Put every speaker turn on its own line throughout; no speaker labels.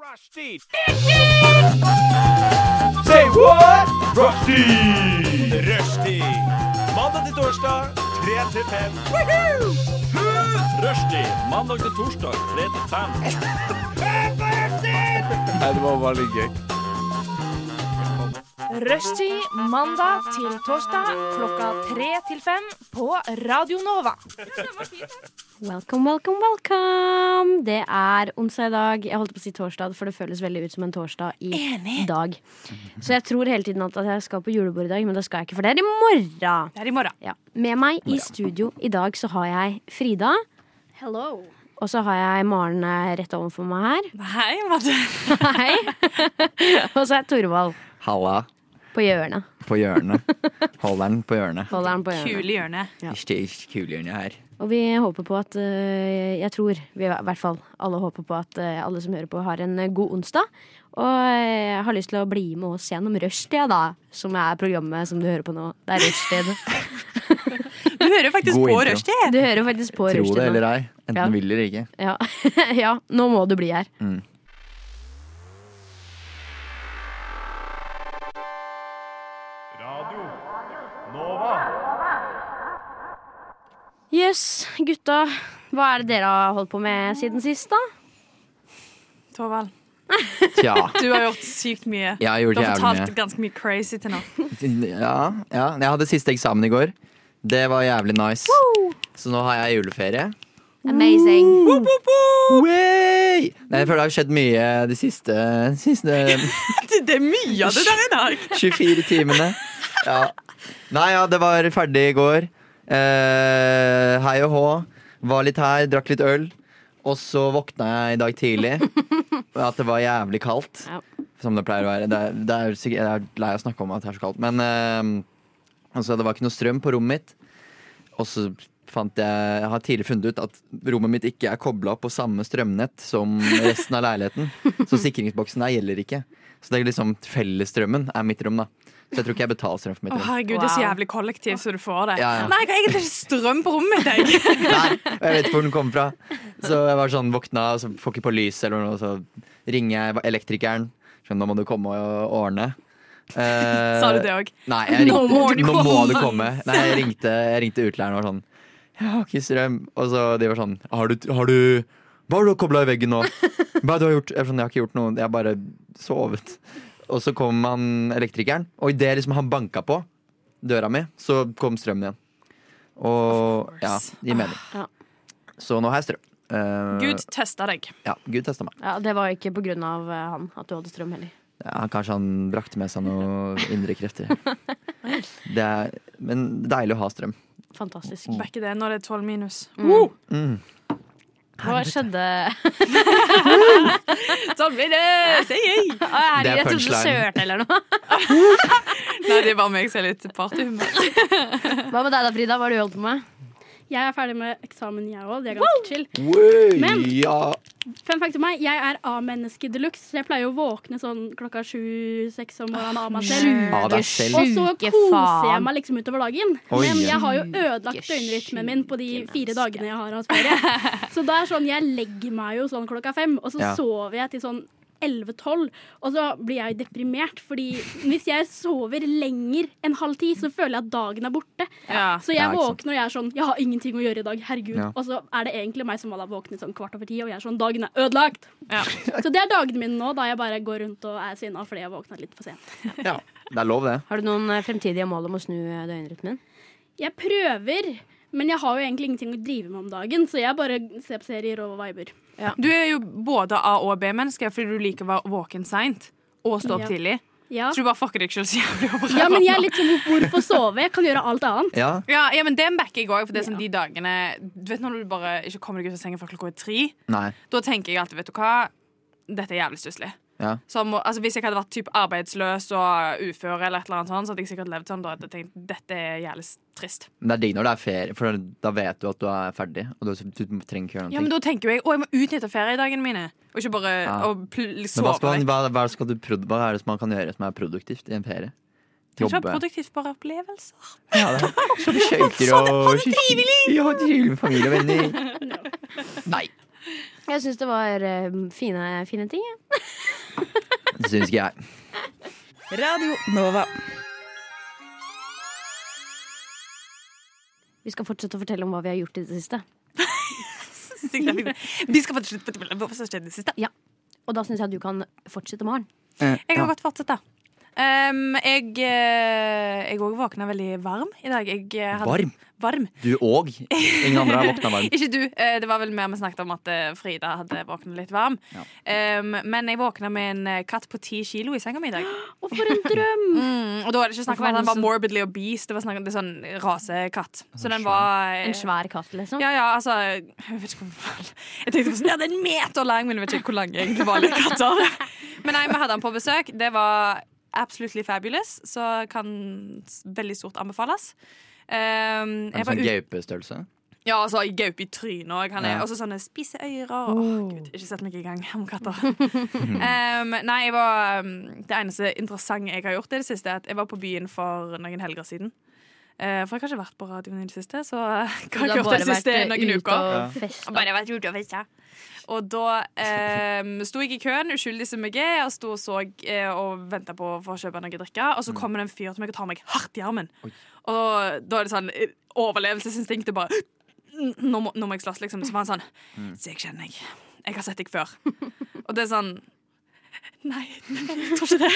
Rushdie. Say what? Rushdie. Rushdie. Mandag til torsdag, 3 til 5. Rushdie. Mandag til torsdag, 3 til 5.
Rushtid mandag til torsdag klokka tre til fem på Radio Nova.
Welcome, welcome, welcome! Det er onsdag i dag. Jeg holdt på å si torsdag, for det føles veldig ut som en torsdag i dag. Så jeg tror hele tiden at at jeg skal på julebord i dag, men det skal jeg ikke, for det er i morgen.
Det er i morgen.
Ja. Med meg i studio i dag så har jeg Frida,
Hello.
og så har jeg Maren eh, rett overfor meg her.
Hei, Madde.
Hei! og så er Torvald
Halla
på hjørnet.
på hjørnet. Holder den på hjørnet.
Holder han på hjørnet.
Kul i hjørnet.
Ikke ikke kulhjørnet her.
Og vi håper på at eh, Jeg tror vi i hvert fall alle håper på at eh, alle som hører på, har en eh, god onsdag. Og eh, har lyst til å bli med oss gjennom rushtida, da. Som er programmet som du hører på nå. Det er rushtid.
Du hører faktisk
God
på
intro.
rushtid.
Du hører faktisk
Tro
på
det
rushtid
eller
nå.
ei.
Ja.
Enten vil eller ikke.
Ja. ja, nå må du bli her.
Mm.
Yes, gutta. Hva er det dere har holdt på med siden sist, da?
Torvald,
Tja.
du har gjort sykt mye.
Jeg har gjort
Du har
jævlig
fortalt
mye.
ganske mye crazy til nå.
Ja, ja. Jeg hadde siste eksamen i går. Det var jævlig nice. Så nå har jeg juleferie.
Amazing.
Way! Nei, jeg føler det har skjedd mye de siste, siste
Det er mye av det der i dag.
24 timene. Ja. Nei, ja, det var ferdig i går. Eh, hei og hå. Var litt her, drakk litt øl. Og så våkna jeg i dag tidlig med at det var jævlig kaldt.
Ja.
Som det pleier å være. Det er, det er, sikk- jeg er lei av å snakke om at det er så kaldt. Men eh, altså, det var ikke noe strøm på rommet mitt. Og så fant jeg, jeg har tidlig funnet ut at rommet mitt ikke er kobla på samme strømnett som resten av leiligheten. Så sikringsboksen der gjelder ikke. Så det er liksom fellesstrømmen er mitt rom, da. Så jeg tror ikke jeg betaler strøm for mitt
Å,
rom.
herregud, det er så
Wow.
jævlig kollektiv så du får det.
Ja, ja.
Nei, jeg har egentlig ikke strøm på rommet mitt, jeg.
Nei, og jeg vet ikke hvor den kommer fra. Så jeg var sånn våkna, og så får ikke på lyset eller noe, så ringer jeg elektrikeren. Sånn, nå må du komme og ordne. Eh,
Sa du det òg?
Nei, jeg
Nå
ringte, nå,
må du
må
komme.
du komme. Nei, jeg ringte, jeg ringte utleieren og var sånn Jeg har ikke strøm. Og så de var sånn Har du, har du Hva har du kobla i veggen nå? Hva har du gjort? Jeg, var sånn, jeg har ikke gjort noe. Jeg har bare sovet. Og så kom han elektrikeren, og idet liksom han banka på døra mi, så kom strømmen igjen. Og ja,
course.
det gir mening.
Ja.
Så nå har jeg strøm. Eh,
Gud testa deg.
Ja, Gud testa meg.
Ja, det var ikke på grunn av eh, han at du hadde strøm heller.
Ja, kanskje han brakte med seg noen indre krefter. Det er, men deilig å ha strøm.
Fantastisk.
Mm.
Back i det når det er 12 minus.
Hva skjedde?
Sånn blir det! Say hey!
Å, herregud,
Det er
jeg trodde du
punchline.
sørte eller noe.
Nei, det er bare meg som er litt partyhumør.
Hva med deg da, Frida? Hva har du holdt på med?
Jeg er ferdig med eksamen, jeg òg. Det er ganske chill. Men-
ja.
Fun fact om meg, jeg er A-menneske de luxe, så jeg pleier å våkne sånn klokka sju-seks om morgenen av meg selv.
Av deg selv.
Og så
Ah, Sjuke
koser jeg
faen.
meg liksom utover dagen.
Oi.
Men jeg har jo ødelagt døgnrytmen min på de
Sjuke
fire
menneske.
dagene jeg har hatt ferie. Så det er sånn, jeg legger meg jo sånn klokka fem, og så
Ja.
sover jeg til sånn 11-12, og så blir jeg jo deprimert. Fordi hvis jeg sover lenger enn halv ti, så føler jeg at dagen er borte.
Ja.
Så jeg
Ja, ikke sant.
våkner og jeg er sånn Jeg har ingenting å gjøre i dag, herregud.
Ja.
Og så er det egentlig meg som hadde våknet sånn kvart over ti, og jeg er sånn Dagen er ødelagt!
Ja.
Så det er dagene mine nå, da jeg bare går rundt og er sinna fordi jeg våkna litt for sent.
ja. Det er lov, det.
Har du noen eh, fremtidige mål om å snu eh, døgnrytmen?
Jeg prøver, men jeg har jo egentlig ingenting å drive med om dagen, så jeg bare ser på serier og viber.
Du er jo både A- og B-menneske fordi du liker å være våken seint og stå opp
Ja.
tidlig.
Ja.
Så du bare fucker deg sjøl så jævlig opp.
ja, men jeg er litt sånn Hvorfor sove? Jeg kan gjøre alt annet.
Ja.
ja, ja, men det backer jeg òg, for det er sånn de dagene Du vet når du bare ikke kommer deg ut av sengen før klokka er tre?
Nei.
Da tenker jeg alltid, vet du hva, dette er jævlig stusslig.
Ja.
Så må, altså, hvis jeg hadde vært typ arbeidsløs og ufør, eller et eller annet sånt, så hadde jeg sikkert levd sånn. Da hadde jeg tenkt dette er jævlig trist.
Men det er digg når det er ferie, for da vet du at du er ferdig. Og du, du trenger ikke gjøre noe.
Ja, Men da tenker jo jeg å, jeg må utnytte feriedagene mine. Og ikke bare
Ja.
å pl-
Men hva,
sove
skal man,
vekk.
hva, hva, skal du, prod- hva er det som man kan gjøre som er produktivt i en ferie?
Ikke være produktivt, bare opplevelser.
Ja, det er. Så skøyter og Ja, trivelig med familie og venner. Nei.
Jeg syns det var eh, fine, fine ting. jeg.
Det syns ikke jeg.
Radio Nova.
Vi skal fortsette å fortelle om hva vi har gjort i det siste.
Vi skal få til slutt på hva som skjedde i det siste.
Og da syns jeg at du kan fortsette, Maren.
Eh,
Jeg kan godt fortsette. Um, jeg eh, jeg òg våkna veldig varm i dag. Jeg eh, hadde
Varm?
varm.
Du òg? Ingen andre har våkna varmt.
Ikke du. Eh, Det var vel mer vi snakket om at eh, Frida hadde våknet litt varm.
Ja.
Um, men jeg våkna med en eh, katt på ti kilo i senga mi i dag.
Og for en drøm!
Mm, og da var det ikke snakk om at han var
Verdens-
morbidly obese. Det var snakk om det er sånn rasekatt. Så den
svær.
var eh,
En svær katt, liksom.
Ja, ja, altså Jeg vet ikke hvor Jeg tenkte på sånn, ja, det er en meter lang, men jeg vet ikke hvor lang egentlig vanlige katter er. Men nei, vi hadde han på besøk. Det var absolutely fabulous, så kan s- veldig stort anbefales.
En
Um, jeg var
sånn
ut-
gaupestørrelse.
ja, altså i gaupe i trynet òg. Han er
Ja.
også sånne spise ører. Åh, Gud, ikke sett meg i gang om katter. um, nei, jeg var um, Det eneste interessante jeg har gjort i det siste, er at jeg var på byen for noen helger siden. Eh, for jeg har ikke vært på radioen i det siste, så eh, hva har jeg gjort det siste
eh,
noen
ute
uker?
Ja.
og festa.
Og bare vært ute og festa. Og da um, sto jeg i køen, uskyldig som jeg er, og sto og så eh, og venta på for å kjøpe noe å drikke. Og så kommer det en fyr til meg og tar meg hardt i armen. Og da er det sånn eh, overlevelsesinstinktet bare "N- nå må, nå må jeg slåss, liksom. Så var han sånn Så jeg kjenner deg. Jeg har sett deg før. Og det er sånn Nei, jeg tror ikke det.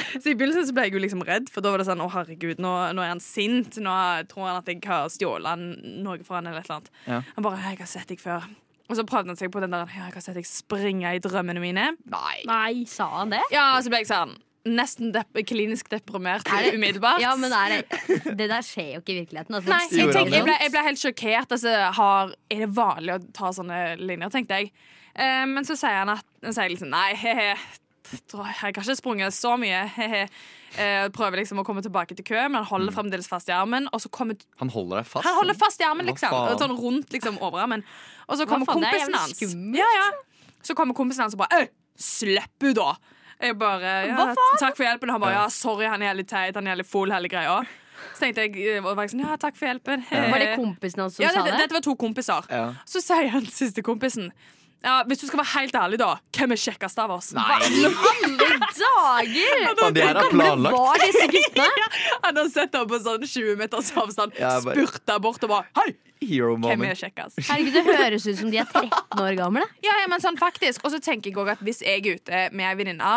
Så I begynnelsen så ble jeg jo liksom redd, for da var det sånn Å, herregud, nå, nå er han sint. Nå tror han at jeg har stjålet han- noe fra han eller et eller annet.
Ja.
Han bare Jeg har sett deg før. Og så prøvde han seg på den der «Ja, Jeg har sett deg springe i drømmene mine. Nei.
Nei.
Sa han det?
Ja, så ble jeg sånn Nesten dep klinisk deprimert umiddelbart.
Ja, men er det, det der skjer jo ikke i virkeligheten. altså. at folk
Nei,
sier
jeg,
Gjorde han
tenk,
det.
jeg, ble, jeg ble helt sjokkert. Altså, har, er det vanlig å ta sånne linjer, tenkte jeg. Eh, men så sier han at han sier liksom, Nei, he-he, tror jeg jeg har ikke sprunget så mye. He-he. Eh, prøver liksom å komme tilbake til køen, men han holder fremdeles fast i armen. Og så kommer
Han holder deg fast.
han holder fast i armen,
Hva
liksom.
faen?
Og Sånn rundt liksom, overarmen. Og så kommer
faen, det er
kompisen
jævlig
hans.
skummelt.
Ja, ja. Så kommer kompisen hans og bare Au, slipp henne, da! Jeg bare ja,
Hva
Takk for hjelpen. Og han bare ja, sorry, han er jævlig teit, han er jævlig full, hele greia. Så tenkte jeg, og var jeg sånn, ja, takk for hjelpen.
Var det kompisen hans som
Ja,
sa
dette,
det?
dette var to kompiser.
Ja.
Så sier han siste kompisen ja, Hvis du skal være helt ærlig, da, hvem er kjekkest av oss?
Dager!
Faen, det her er planlagt.
Var disse guttene?
Han har sett ham på sånn 20 meters avstand,
Ja, bare-
spurta bort og bare Hei,
Hero
hvem er
moment.
kjekkest?
Herregud, det høres ut som de er 13 år gamle.
Ja, ja, men sånn faktisk Og så tenker jeg også at hvis jeg er ute med ei venninne,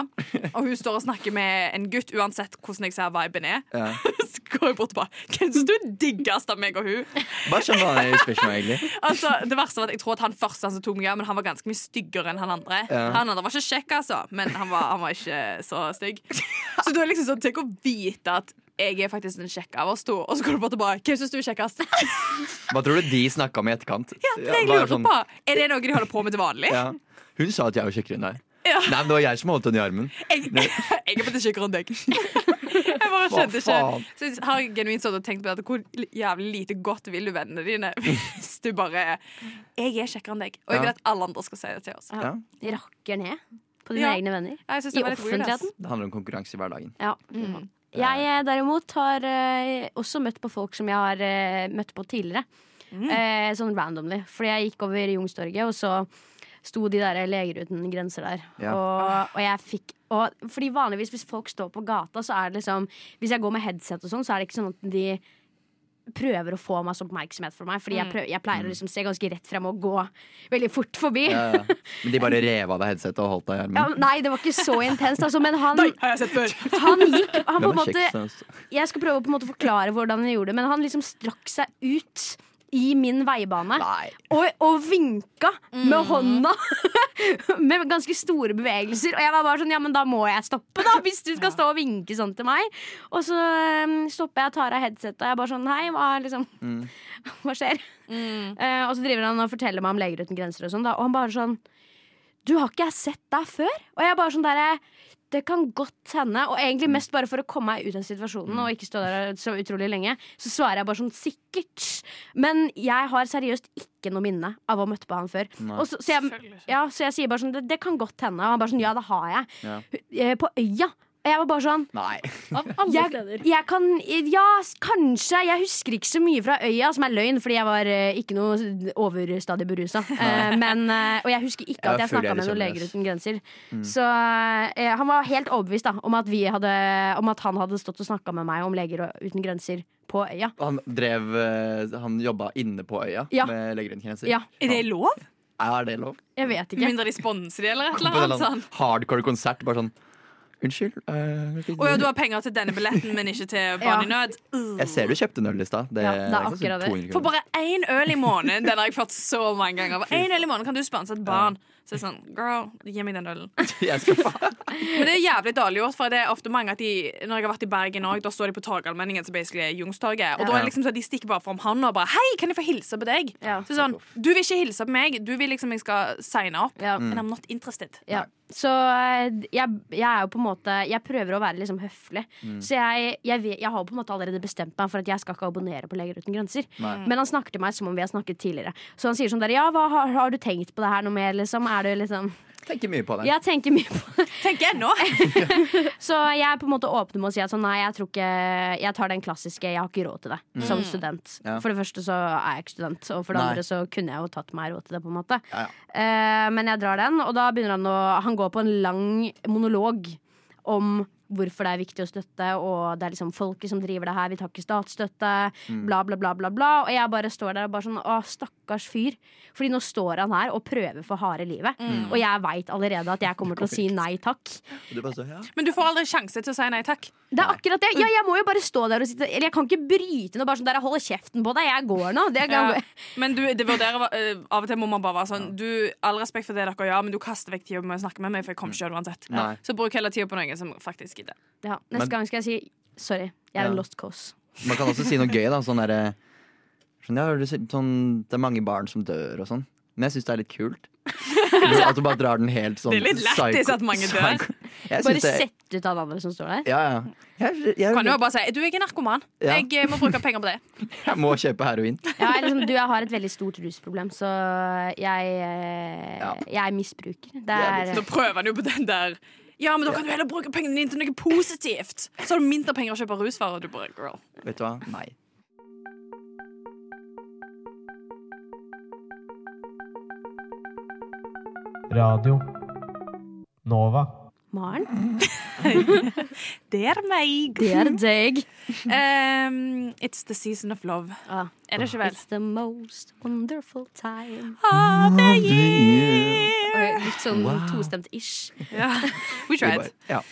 og hun står og snakker med en gutt, uansett hvordan jeg ser viben er,
Ja.
så går jeg bort og bare Hvem syns du er diggest av meg og hun?
Hva skjønner han i spørsmålet, sånn egentlig?
Altså, det verste var at Jeg tror at han første han som tok meg av, men han var ganske mye styggere enn han andre.
Ja.
Han andre var ikke kjekk, altså, men han var, han var ikke så stygg. Så du er liksom sånn, tenk å vite at jeg er faktisk den kjekke av oss to, og så går du bort og bare Hvem syns du er kjekkest?
Hva tror du de snakka om i etterkant?
Det er jeg
bare sånn
lurer på. Er det noe de holder på med til vanlig?
ja. Hun sa at jeg var kjekkere enn deg.
Ja.
Nei, men det var jeg som holdt henne i armen.
Jeg, jeg er faktisk ikke rundt deg. Jeg bare skjønte ikke.
faen?
Så jeg har genuint stått og tenkt på dette. Hvor jævlig lite godt vil du vennene dine hvis du bare Jeg er kjekkere enn deg, og jeg vil
Ja.
at alle andre skal si det til oss.
Ja.
De rakker ned på dine
Ja.
egne venner.
Jeg synes det
I
var litt weird, ass.
offentligheten.
Det handler om konkurranse i hverdagen.
Ja. Jeg eh, derimot har eh, også møtt på folk som jeg har eh, møtt på tidligere. Eh, sånn randomly. Fordi jeg gikk over Youngstorget, og så sto de der eh, Leger uten grenser der.
Ja.
Og, og jeg fikk og, Fordi vanligvis hvis folk står på gata, så er det liksom Hvis jeg går med headset og sånn, så er det ikke sånn at de prøver å få masse oppmerksomhet fra meg. Fordi jeg, prøv, jeg pleier å liksom se ganske rett frem og gå veldig fort forbi.
Ja, ja. Men de bare rev av deg headsetet og holdt deg i armen.
Ja, nei, det var ikke så intenst, altså, men han,
Nei, har jeg sett før!
han gikk Han
Hvem
på en
er
måte
kjekkest av oss?
jeg skal prøve å på en måte forklare hvordan han gjorde det, men han liksom strakk seg ut i min veibane.
Nei.
Og, og vinka med hånda! med ganske store bevegelser. Og jeg var bare sånn, ja, men da må jeg stoppe, da! Hvis du skal stå og vinke sånn til meg. Og så øhm, stopper jeg, tar av headsetet, og jeg bare sånn, hei, hva, liksom, hva skjer? Eh, og så driver han og forteller meg om Leger uten grenser og sånn, da. Og han bare sånn, du har ikke jeg sett deg før? Og jeg bare sånn derre det kan godt hende, og egentlig mest bare for å komme meg ut av situasjonen. Og ikke stå der så utrolig lenge Så svarer jeg bare sånn sikkert. Men jeg har seriøst ikke noe minne av å ha møtt på han før.
Nei.
Og så, så, jeg, ja, så jeg sier bare sånn det, det kan godt hende. Og han bare sånn ja, det har jeg.
Ja.
Eh, På øya Og jeg var bare sånn
Nei.
Av alle
Jeg-
steder.
jeg kan, Ja, s- kanskje. Jeg husker ikke så mye fra øya, som er løgn, fordi jeg var eh, ikke noe s- overstadig berusa. Eh, men, eh, og jeg husker ikke
Jeg
at
var
jeg sånn,
full
snakka
i
med noen
søvnes.
Leger uten grenser. Så eh, han var helt overbevist da, om, at vi hadde, om at han hadde stått og snakka med meg om Leger og- uten grenser på øya.
Han drev eh, Han jobba inne på øya
Ja.
med Legger uten grenser.
Ja,
Er det lov?
Er det lov?
jeg vet
Med
ikke.
mindre de sponser de, eller et
På en
eller
eller
annet sånn.
annen
sånt.
hardcore konsert, bare sånn Unnskyld. eh,
Å ja, du har penger til denne billetten, men ikke til barn i nød. Uh.
Jeg ser du kjøpte en øl i stad. Det,
Ja, det er
ikke sånn
akkurat det.
200
For
kroner.
bare én øl i måneden, den har jeg fått så mange ganger. For én øl i måneden kan du sponse et barn. Så det er sånn, girl, gi meg den ølen.
Jeg skal faen
Men det er jævlig dårlig gjort, for det er ofte mange at de Når jeg har vært i Bergen òg, da står de på Torgallmenningen, som basically er Jungstorget. Og da er det liksom sånn at de stikker bare fram hånda og bare Hei, kan jeg få hilse på deg?
Ja.
Så sånn, du vil ikke hilse på meg, du vil liksom jeg skal signe opp.
Ja.
Mm.
And I'm not interested.
Ja. Så eh, jeg, jeg er jo på en måte Jeg prøver å være liksom høflig. Så jeg, jeg, vet, jeg har på en måte allerede bestemt meg for at jeg skal ikke abonnere på Leger uten grenser.
Nei.
Men han snakker til meg som om vi har snakket tidligere. Så han sier sånn der Ja, hva har, har du tenkt på det her noe mer, liksom? Er du liksom
tenke mye på det.
Jeg tenker mye på det.
Tenker jeg nå.
Så jeg er på en måte åpen med å si at sånn nei, jeg tror ikke Jeg tar den klassiske 'jeg har ikke råd til det' som student.
Mm. Ja.
For det første så er jeg ikke student, og for det
Nei.
andre så kunne jeg jo tatt meg råd til det, på en måte.
Ja, ja.
Eh, men jeg drar den, og da begynner han å Han går på en lang monolog om hvorfor det er viktig å støtte, og det er liksom folket som driver det her, vi tar ikke statsstøtte,
Mm.
bla, bla, bla, bla, bla. Og jeg bare står der og bare sånn, å, stakkars fyr. Fordi nå står han her og prøver for harde livet.
Mm.
Og jeg veit allerede at jeg kommer til å si nei takk.
Og Du bare så, ja.
Men du får aldri sjanse til å si nei takk.
Det er akkurat det. Ja, jeg må jo bare stå der og sitte Eller jeg kan ikke bryte noe, bare sånn der, jeg holder kjeften på deg, jeg går nå. Det kan,
Ja. Men du, det vurderer eh, Av og til må man bare være sånn du, All respekt for det dere gjør, men du kaster vekk tida med å snakke med meg, for jeg kommer ikke gjøre det uansett.
Nei.
Så bruk heller tida på noen som faktisk gidder.
ja.
Men-
Neste gang skal jeg si sorry, jeg er
Ja.
en lost cause.
Man kan også si noe gøy, da. Sånn derre sånn, ja, du ser- sånn, Det er mange barn som dør og sånn. Men jeg syns det er litt kult. Du- At du bare drar den helt sånn
Det er litt lættis
psycho-
at mange dør.
psycho- Jeg
Bare
synes det,
sett ut av den andre som står der.
ja, ja. Jeg, jeg,
Kan du jo
jeg,
bare si du jeg er ikke narkoman.
Ja.
Jeg eh, må bruke penger på det.
må kjøpe heroin.
Ja, jeg, liksom, du, jeg har et veldig stort rusproblem, så jeg, eh,
Ja. liksom.
jeg misbruker. Det
er
er,
Da prøver han jo på den der Ja, men da kan du heller bruke pengene dine til noe positivt. Så har du mindre penger å kjøpe rusvarer. Du bare, girl
Vet du hva? Nei.
Radio Nova.
Maren,
Det er meg.
det er deg.
Um, it's the season of love.
Ah.
Er det ikke vel?
It's the most wonderful time.
Of the year.
Og Litt sånn tostemt-ish.
Ja, We
Vi
tried.
bare- Ja.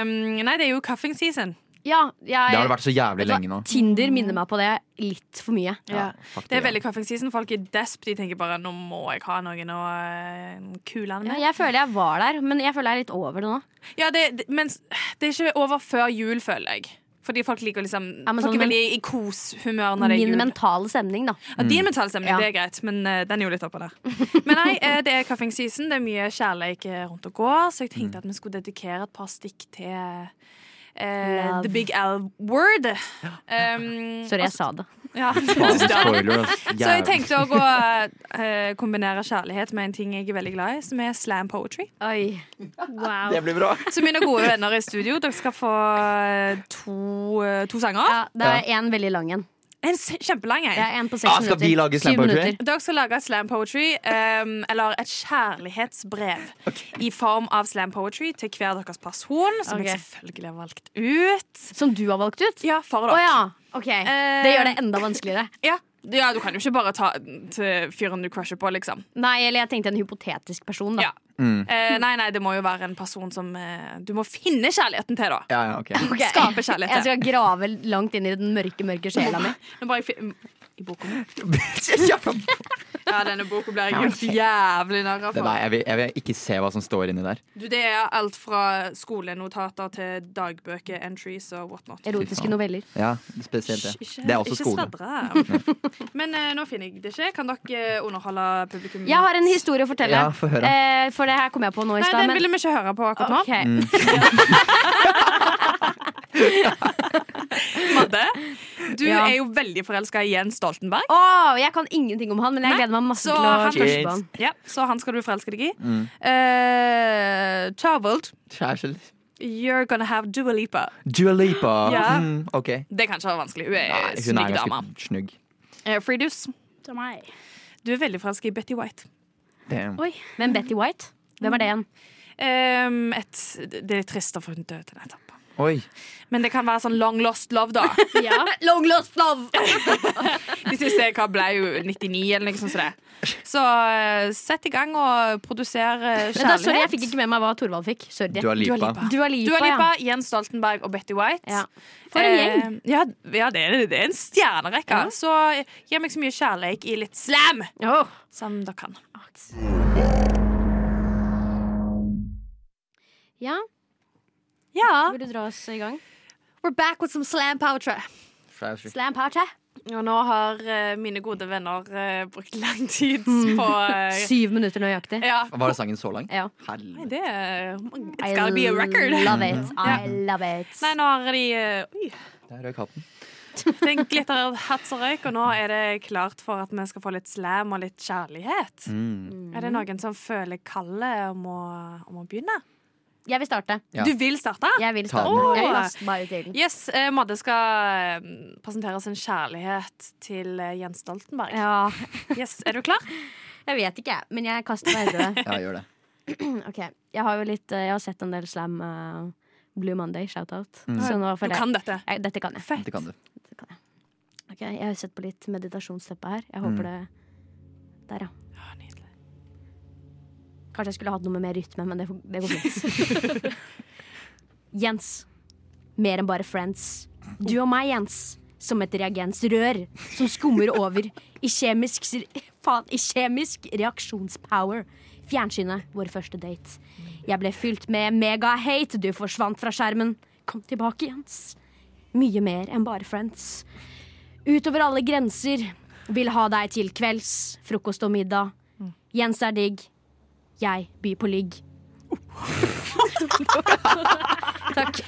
Um, nei, det er jo cuffing season.
Ja,
Det
jeg,
har det vært så jævlig lenge nå.
Tinder minner meg på det litt for mye.
Ja.
fuck
Det er
ja.
veldig cuffing season. Folk er desp. De tenker bare nå må jeg ha noen å eh, kule han
Ja,
med.
jeg føler jeg var der, men jeg føler jeg er litt over det nå.
Ja, det, det, men s- det er ikke over før jul, føler jeg. Fordi folk liker liksom
Ja, men
Folk
sånn-
er veldig i koshumør når det er
Min
jul.
mentale stemning, da.
Ja, din mentale stemning,
Ja.
det er greit, men eh, den er jo litt oppå der. Men nei, eh, det er cuffing season, det er mye kjærleik eh, rundt og går, så jeg tenkte at vi skulle dedikere et par stikk til eh,
Love.
The Big L Word. Um,
Sorry, jeg sa det.
ja.
Faen, spoiler, ass.
Så jeg
Jævlig.
tenkte å gå, eh, kombinere kjærlighet med en ting jeg er veldig glad i, som er slam poetry.
Oi.
Wow.
Det blir bra.
Så mine gode venner i studio, dere skal få eh, to, eh, to sanger.
Ja, det er én veldig lang en.
En s- kjempelang
Det
en.
er en på
Ah,
seks
skal
minutter.
vi lage slam
Syv
poetry?
minutter.
Dere skal lage et slam poetry, ehm, eller et kjærlighetsbrev, i form av slam poetry til hver deres person, som
Ok.
jeg selvfølgelig har valgt ut.
Som du har valgt ut?
Ja, for
Å
dere.
ja. Ok. Det gjør det enda vanskeligere.
ja. ja, du kan jo ikke bare ta den til fyren du crusher på, liksom.
Nei, eller jeg tenkte en hypotetisk person, da.
Ja. Eh, nei, nei, det må jo være en person som eh, du må finne kjærligheten til, da.
Ja, ja, ok.
Ok.
Skape
Jeg
kjærlighet til.
skal grave langt inn i den mørke, mørke sjela mi.
Nå bare jeg fin- I boka mi.
Kjempe-
Ja, denne boka blir jeg gjort jævlig narr av.
Det- Nei, jeg vil, jeg vil ikke se hva som står inni der.
Du, Det er alt fra skolenotater til dagbøker, entries og whatnot.
Erotiske noveller.
Ja, spesielt det.
Ikke-
Det er også
ikke
skole.
sladre. Men eh, nå finner jeg det ikke. Kan dere eh, underholde publikum?
Jeg har en historie å fortelle.
Ja, få høre.
Eh, for det her kom jeg på nå i
Nei,
stad.
den
men-
ville vi ikke høre på akkurat nå.
Ok.
Madde, du
Ja.
er jo veldig forelska i Jens Stoltenberg.
Åh, jeg kan ingenting om han, men jeg
Nei,
gleder meg masse
så
til å
han-
pushe på han.
Mm.
Ja, så han skal du forelske deg i. Eh, Charwold.
Kjæreste-
You're gonna have Dua Lipa.
Dua Lipa.
Ja.
Mm, ok.
Det kan ikke være vanskelig. Hun
Nei,
er
hun er
snygg dame.
ganske snygg.
Eh, Fridus,
Til meg.
du er veldig forelska i Betty White.
Damn.
Oi.
Men Betty White? Hvem er det igjen?
Ehm, et, det er litt trist, for hun døde nettopp.
Oi.
Men det kan være sånn long lost love, da.
Ja.
Long lost love!
De siste hva ble jo 99, eller noe sånt. som det. Så eh, sett i gang og produser eh,
Men da, sorry, jeg
kjærlighet.
fikk ikke med meg hva Thorvald fikk. Sorry.
Dua Lipa.
Dua Lipa.
Dua Lipa,
Dua Lipa,
ja.
Jens Stoltenberg og Betty White.
Ja. For en gjeng.
Eh, ja, ja, det er, det er en stjernerekke. Så eh, gi meg så mye kjærlighet i litt slam
Eh, Åh.
som dere kan.
Ja,
Ja.
vil du dra oss i gang?
We're back with some slam poetry.
Slam party.
Og nå har eh, mine gode venner eh, brukt lang tid
Hmm.
på eh,
Syv minutter nøyaktig.
ja.
Var det sangen så lang?
Ja.
Helvete.
Det er It's gotta be a record.
I love it. I love it.
Nei, nå har de eh, Oi.
Der røyk hatten.
Det er en glitterhatt som røyk, og nå er det klart for at vi skal få litt slam og litt kjærlighet.
Mm.
Er det noen som føler kallet om å, om å begynne?
Jeg vil starte.
Ja.
Du vil starte?
Jeg vil
Ta
starte.
den.
Jeg kaster meg ut i ilden.
Yes, eh, Madde skal eh, presentere sin kjærlighet til eh, Jens Stoltenberg.
Ja,
Yes, Er du klar?
jeg vet ikke, jeg, men jeg kaster meg ut i det.
Ja, gjør det.
Ok, jeg har jo litt eh, Jeg har sett en del slam eh, Blue Monday, shout-out.
Mm.
Så nå
Du
får jeg
kan dette.
jeg, Dette kan jeg.
Det kan du.
Ok, jeg har sett på litt meditasjonsteppe her. Jeg håper
Mm.
det Der, ja.
Å, nydelig.
Kanskje jeg skulle hatt noe med mer rytme, men det, får- det går fint. Jens. Mer enn bare friends. Du og meg, Jens. Som et reagensrør som skummer over i kjemisk, faen, i kjemisk reaksjonspower. Fjernsynet, vår første date. Jeg ble fylt med mega-hate, du forsvant fra skjermen. Kom tilbake, Jens. Mye mer enn bare friends. Utover alle grenser. Vil ha deg til kvelds, frokost og middag. Jens er digg. Jeg byr på ligg. Takk.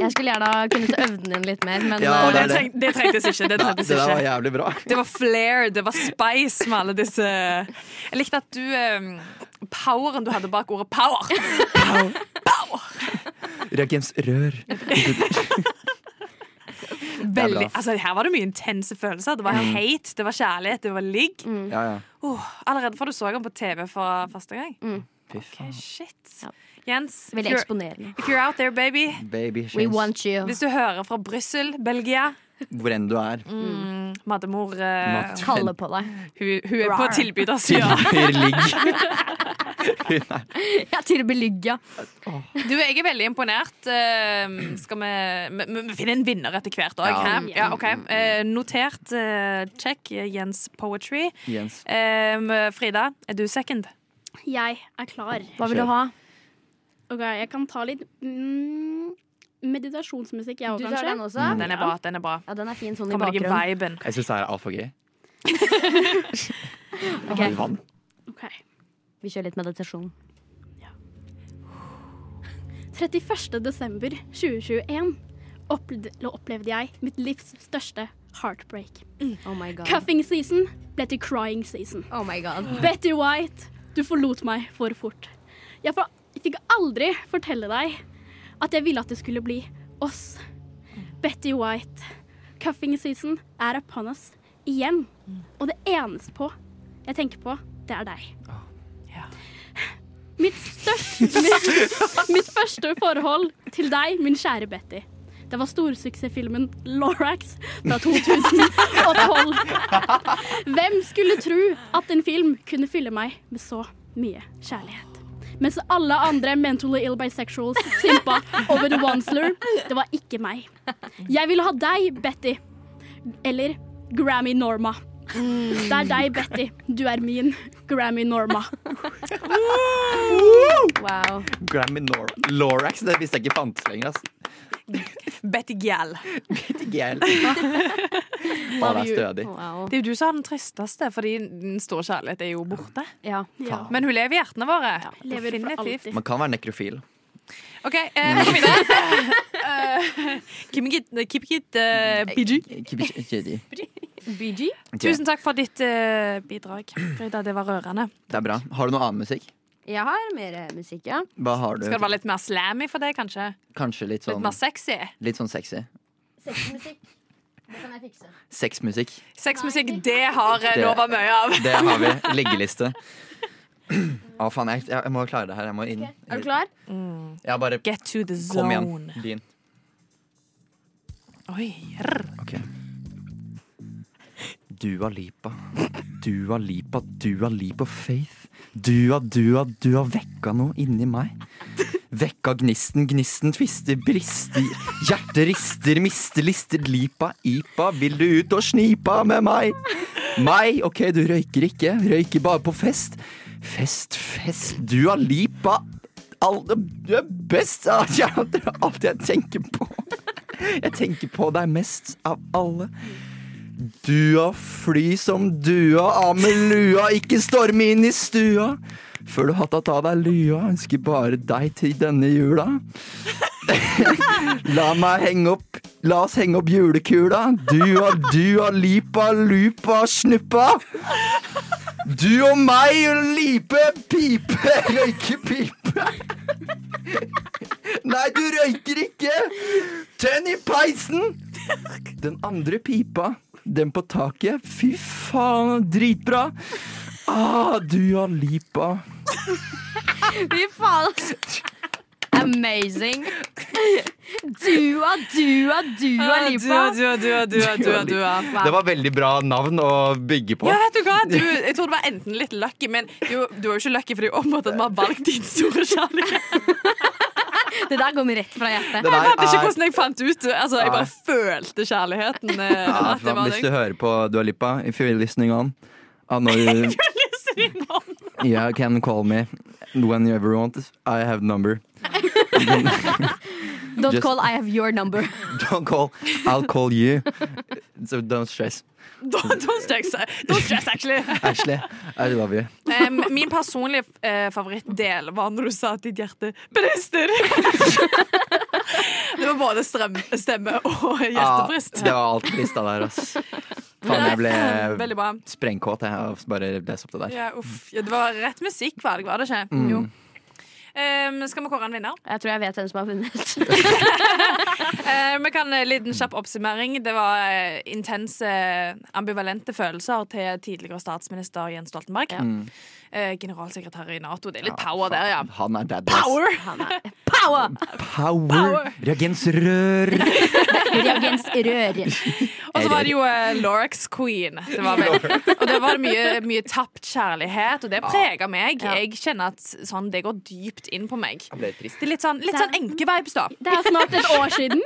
Jeg skulle gjerne ha kunnet øvde den inn litt mer, men
Ja,
Å,
det
eh,
det,
er det.
treng, det trengtes ikke. Det
Ja, det
trengtes
der var
ikke.
jævlig bra.
Det var flair, det var spice med alle disse Jeg likte at du eh, Poweren du hadde bak ordet power.
Reagensrør.
Veldig, altså Her var det mye intense følelser. Det var
Mm.
hate, det var kjærlighet, det var ligg.
Ja, ja.
Oh, allerede fra du så ham på TV for første gang. Eh,
Fy faen.
Shit.
Mm. Ja.
Jens, if
vil jeg
you're,
eksponere den.
if you're out there, baby
Baby
We
chance.
want you.
Hvis du hører fra Brussel, Belgia
Hvor enn du er.
Mm.
Mm. Maddemor, eh,
Matt.
Kalle på deg.
hun, hun er på altså.
Rar.
tilbydersida.
Tilbyr ligg.
Jeg tilbyr ligg, ja.
Du, jeg er veldig imponert. Eh, skal vi, vi, vi- vi finner en vinner etter hvert òg.
Ja.
Ja. Ja, ok.
Mm.
Eh, notert. eh, check eh, Jens Poetry.
Jens.
Eh, Frida, er du second?
Jeg er klar.
Hva vil du ha?
Ok, jeg kan ta litt mm, meditasjonsmusikk, jeg òg,
Du tar den Mm.
kanskje.
også?
Den er bra. den er bra
Ja, den er fin sånn i
Kommer det ikke
bakgrunnen.
viben?
Jeg syns det her er altfor gøy.
Ok,
Har du vann?
Ok.
Vi kjører litt meditasjon.
31. desember 2021 opplevde, opplevde jeg mitt livs største heartbreak.
Oh my god.
Cuffing season ble til crying season.
Oh my god.
Betty White, du forlot meg for fort. Jeg for- fikk aldri fortelle deg at jeg ville at det skulle bli oss. Betty White, cuffing season er upon us igjen. Og det eneste på jeg tenker på, det er deg.
ja.
Mitt største mitt, mitt første forhold til deg, min kjære Betty. Det var storsuksessfilmen Lorax fra 2012. Hvem skulle tro at en film kunne fylle meg med så mye kjærlighet? Mens alle andre mentally ill bisexuals simpa over the Wansler, det var ikke meg. Jeg ville ha deg, Betty. Eller Grammy Norma. Det er deg, Betty. Du er min Grammy Norma.
Wow.
Grammy Nor Lorax. Det visste jeg ikke fantes lenger. ass.
Betty Gjell.
Ikke jeg heller. Å, det er stødig.
wow.
Det er jo du som er den tristeste, fordi den store kjærlighet er jo borte.
Ja.
Ja.
Men hun lever i hjertene våre.
Lever for
Definitivt.
alltid.
Man kan være nekrofil.
OK, eh, kom videre. Eh, keep it, keep it eh, PG.
Det
BG?
Tusen takk for ditt eh, bidrag, Frida. Det var rørende.
er bra. Har du noe annen musikk?
Jeg har mer eh, musikk, ja.
Hva har du?
Skal det være litt mer slammy for deg, kanskje?
Kanskje litt
Litt
sånn,
mer sexy?
litt sånn sexy.
Sexmusikk. Det kan jeg fikse.
Sexmusikk.
Sexmusikk, det har eh,
Det-
Nova mye av.
Det har vi. Liggeliste. Å, faen. Jeg, jeg må klare det her. Jeg må inn.
Er du klar?
Jeg bare
Get to the
Kom igjen.
zone.
Din.
Oi, rr.
Ok. Dua Lipa. Dua Lipa, Dua Lipa Faith. Dua, Dua, du har vekka noe inni meg. Vekka gnisten, gnisten tvister, brister. Hjertet rister, mister lister, lipa, ipa. Vil du ut og snipa med meg? Meg? Ok, du røyker ikke. Røyker bare på fest. Fest, fest, Dua Lipa. All, du er best. Ah, jeg- Alt jeg tenker på. Jeg tenker på deg mest av alle. Dua, fly som dua, av med lua, ikke storme inn i stua. Før du har tatt av deg lua, ønsker bare deg til denne jula. La meg henge opp La oss henge opp julekula. Dua, dua, lipa, lupa, snuppa. Du og meg og lipe, pipe, røyke, pipe. Nei, du røyker ikke! Tønn i peisen! Den andre pipa, den på taket. Fy faen, dritbra! Ah, du har lipa.
Fy faen. Amazing. Dua, dua, Ah, dua lipa.
Dua, dua, dua, dua, dua, dua.
Det var veldig bra navn å bygge på.
Ja, vet du hva? Du, jeg tror det var enten litt lucky, men du, du er jo ikke lucky fordi du oppmåtte at vi har valgt din store kjærlighet.
Det der går meg rett fra hjertet.
Det
Jeg
der
vet ikke
er-
hvordan jeg fant ut det. altså, Jeg bare
eh, Nei.
følte kjærligheten. eh,
Ja,
at det var
hvis du
deg.
hører på Dua Lipa, if you're listening on Ah, I know you, you can call me whenever you want. I have number.
Don't
Just-
call, I have your number.
Don't call. I'll call you. So don't stress.
Don't don't stress, don't stress actually.
Ashley, I love you.
Em, min personlige eh, favorittdel var når du sa at ditt hjerte brister. det var både strøm, stemme og hjertebrist.
Ja, det var alt lista der, ass. Faen, jeg ble
Veldig bra.
sprengkåt jeg, av bare å lese opp det der.
Ja, uff. Ja, det var rett musikkvalg, var det ikke?
Mm.
Jo. Em, skal vi kåre en vinner?
Jeg tror jeg vet hvem som har vunnet.
Eh, vi kan eh, liten kjapp oppsummering. Det var eh, intense, eh, ambivalente følelser til tidligere statsminister Jens Stoltenberg. Eh, generalsekretær i Nato. Det er litt power der, ja.
Han er daddass.
Power!
Power!
Power.
Power.
Reagensrør!
Reagens rør.
Og så var det jo eh, Lorax Queen. Det var veldig, og det var mye, mye tapt kjærlighet, og det prega meg. Jeg kjenner at sånn, det går dypt inn på meg.
Jeg ble trist.
Det er litt sånn, litt sånn enkevibes, da.
Det er snart et år siden.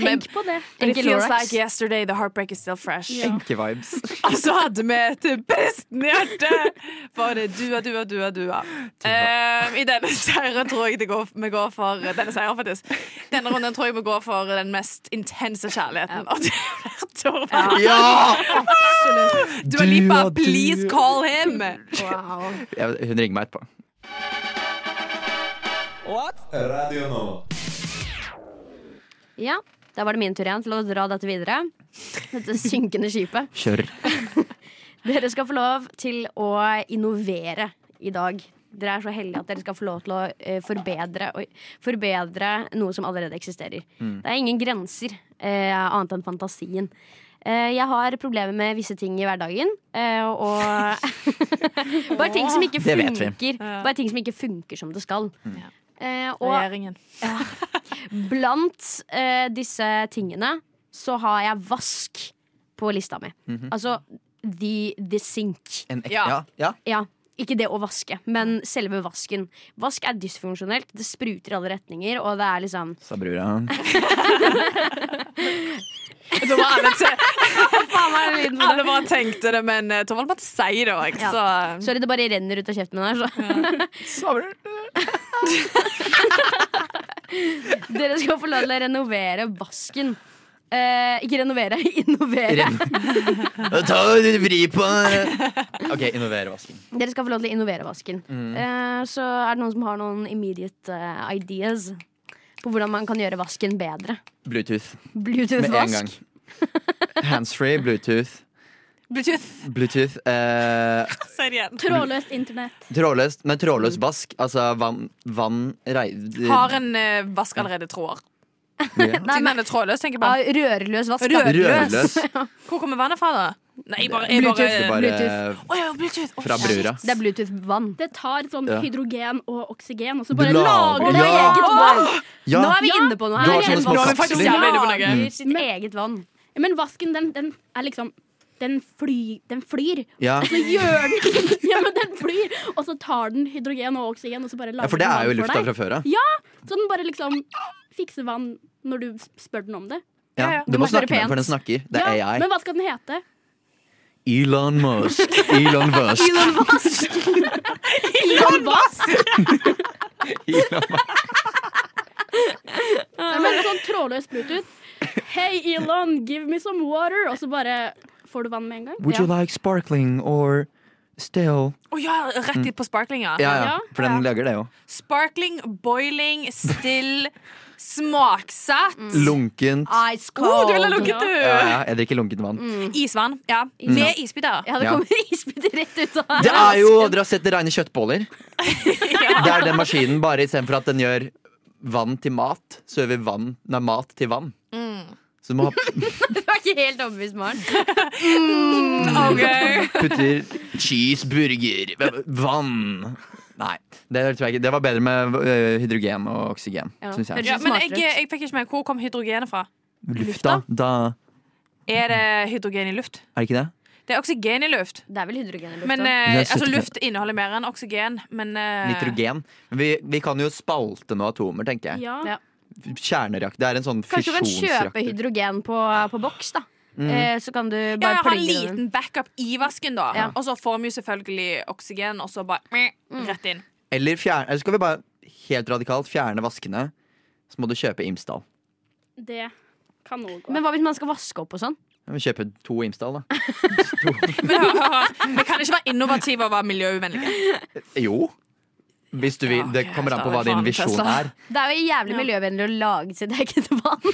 Tenk på det.
But it
Enkel
feels
Lorax.
like yesterday, the heartbreak is still fresh.
Enkevibes.
Og så hadde vi til bristen i hjertet for dua, dua, dua, dua. Eh, I denne seieren tror jeg det går, vi går for Denne seieren, faktisk. Denne runden tror jeg vi går for den mest intense kjærligheten. Og det blir Torvald.
Ja!
Dua Lipa,
Dua,
please
Dua.
call him!
Wow.
Jeg, hun ringer meg etterpå.
Radio Nova.
Ja, da var det min tur igjen til å dra dette videre. Dette synkende skipet.
Kjør.
Dere skal få lov til å innovere i dag. Dere er så heldige at dere skal få lov til å eh, forbedre, oi, forbedre noe som allerede eksisterer.
Mm.
Det er ingen grenser eh, annet enn fantasien. Eh, jeg har problemer med visse ting i hverdagen. eh, og bare ting som ikke
Det vet vi. Mm.
funker. Bare ting som ikke funker som det skal. Eh, og
Regjeringen.
Blant eh, disse tingene så har jeg vask på lista mi.
Mhm.
Altså the, the sink.
En ek
Ja.
ja. ja.
Ja, ikke det å vaske, men selve vasken. Vask er dysfunksjonelt. Det spruter i alle retninger, og det er liksom
Sa brura.
Da var alle, te
Faen, hva er lyden for
alle
det?
bare tenkte det, men eh, Torvald måtte si det òg,
Ja.
så eh,
Sorry, det bare renner ut av kjeften min her. Så.
Sa brura.
Dere skal få lov til å renovere vasken. Eh, ikke renovere, innovere.
Ta vri på OK, innovere vasking.
Dere skal få lov til å innovere vasken.
Mm.
Eh, så er det noen som har noen immediate eh, ideas på hvordan man kan gjøre vasken bedre.
Bluetooth med en gang.
Bluetooth-vask.
Handsfree, Bluetooth.
Bluetooth.
Bluetooth. Eh,
Si det igjen.
Trådløst internett.
trådløst, men trådløs vask. Altså vann, vann rei...
Har en eh, vask allerede tråder.
Ja.
Siden den er trådløs, tenker jeg
Ja,
bare
rørløs vask. da.
Rørløs.
Hvor kommer vannet fra, da? Nei, jeg bare, jeg bare
Bluetooth.
Det er bare
Bluetooth.
Å ja, Bluetooth. Å,
fra
shit.
brura.
Det er Bluetooth-vann.
Det tar sånn
Ja.
hydrogen og oksygen, og så
Du
bare
lager-
lager det i
Ja.
eget vann.
Ja,
Nå er vi
Ja.
inne på noe
Du
her.
har sånne små
Nå er vi faktisk
kapsler.
jævlig inne på noe.
Lager sitt eget vann.
Men vasken, den, den er liksom den, fly, den flyr.
Ja.
Så gjør den Ja, men den flyr! Og så tar den hydrogen og oksygen, og så bare
ja,
lager
for det
den
er jo
vann
lufta
for
fra
deg.
før av.
Så den bare liksom fikser vann når du s- spør den om det.
Ja, ja.
Ja. Du
Du
må
må
snakke
spørre
med den, for
pent.
den snakker. Det er
Ja,
AI.
men hva skal den hete?
Elon Musk. Elon Musk. Elon
Elon Musk? Nei, men sånn trådløs Bluetooth. Hei, Elon, give me some water! Og så bare får du vann med en gang.
Would you like sparkling or still?
Å ja, rett i på sparklinga.
Ja, ja,
Ja,
for den lager det jo.
Sparkling, boiling, still, smaksatt.
Lunkent.
Ice
Oh,
cold.
du ville lukket, du!
Mm. Ja, Mm. ja, jeg drikker lunkent vann.
Mm. Isvann. Ja. Med isbiter.
Ja, det
Ja.
kommer isbiter rett ut av
Det er jo, Dere har sett det regne kjøttboller? Det er den maskinen, bare istedenfor at den gjør vann til mat, så gjør vi vann, nei, mat til vann. Så du må ha,
Du er ikke helt overbevist, Maren.
Mm.
Ok.
putter cheeseburger v- Vann. Nei, det tror jeg ikke. Det var bedre med ø, hydrogen og oksygen,
Ja.
syns jeg.
Ja, men jeg, jeg fikk ikke med hvor kom hydrogenet fra.
Lufta, da
Er det hydrogen i luft?
Er det ikke det?
Det er oksygen i luft.
Det er vel hydrogen i lufta.
Men,
Det
eh,
er
altså,
sykt-
luft inneholder mer enn oksygen, men eh,
Nitrogen. Vi, vi kan jo spalte noen atomer, tenker jeg.
Ja.
Ja.
Kjernereaktor. Det er en sånn
Kanskje du kan kjøpe
fusjonsreaktor.
hydrogen på, på boks, da.
Mm.
Eh, så kan du
Ja,
bare
ja, ha en
plugge den inn.
liten backup i vasken, da.
Ja.
Og så får vi jo selvfølgelig oksygen, og så bare meh, rett inn.
Eller, fjerne, eller skal vi bare helt radikalt fjerne vaskene, så må du kjøpe Imsdal.
Det kan noe gå.
Men hva hvis man skal vaske opp og sånn?
Ja, Vi kjøper to Imsdal, da.
Men hør, hør, hør. Vi kan ikke være innovative og være miljøvennlige.
Jo. Hvis du vil.
Ja,
Det
ok,
kommer an på
da
hva
er det
din
faen
visjon
Tesla.
er.
Det er jo jævlig miljøvennlig å lage sitt eget vann.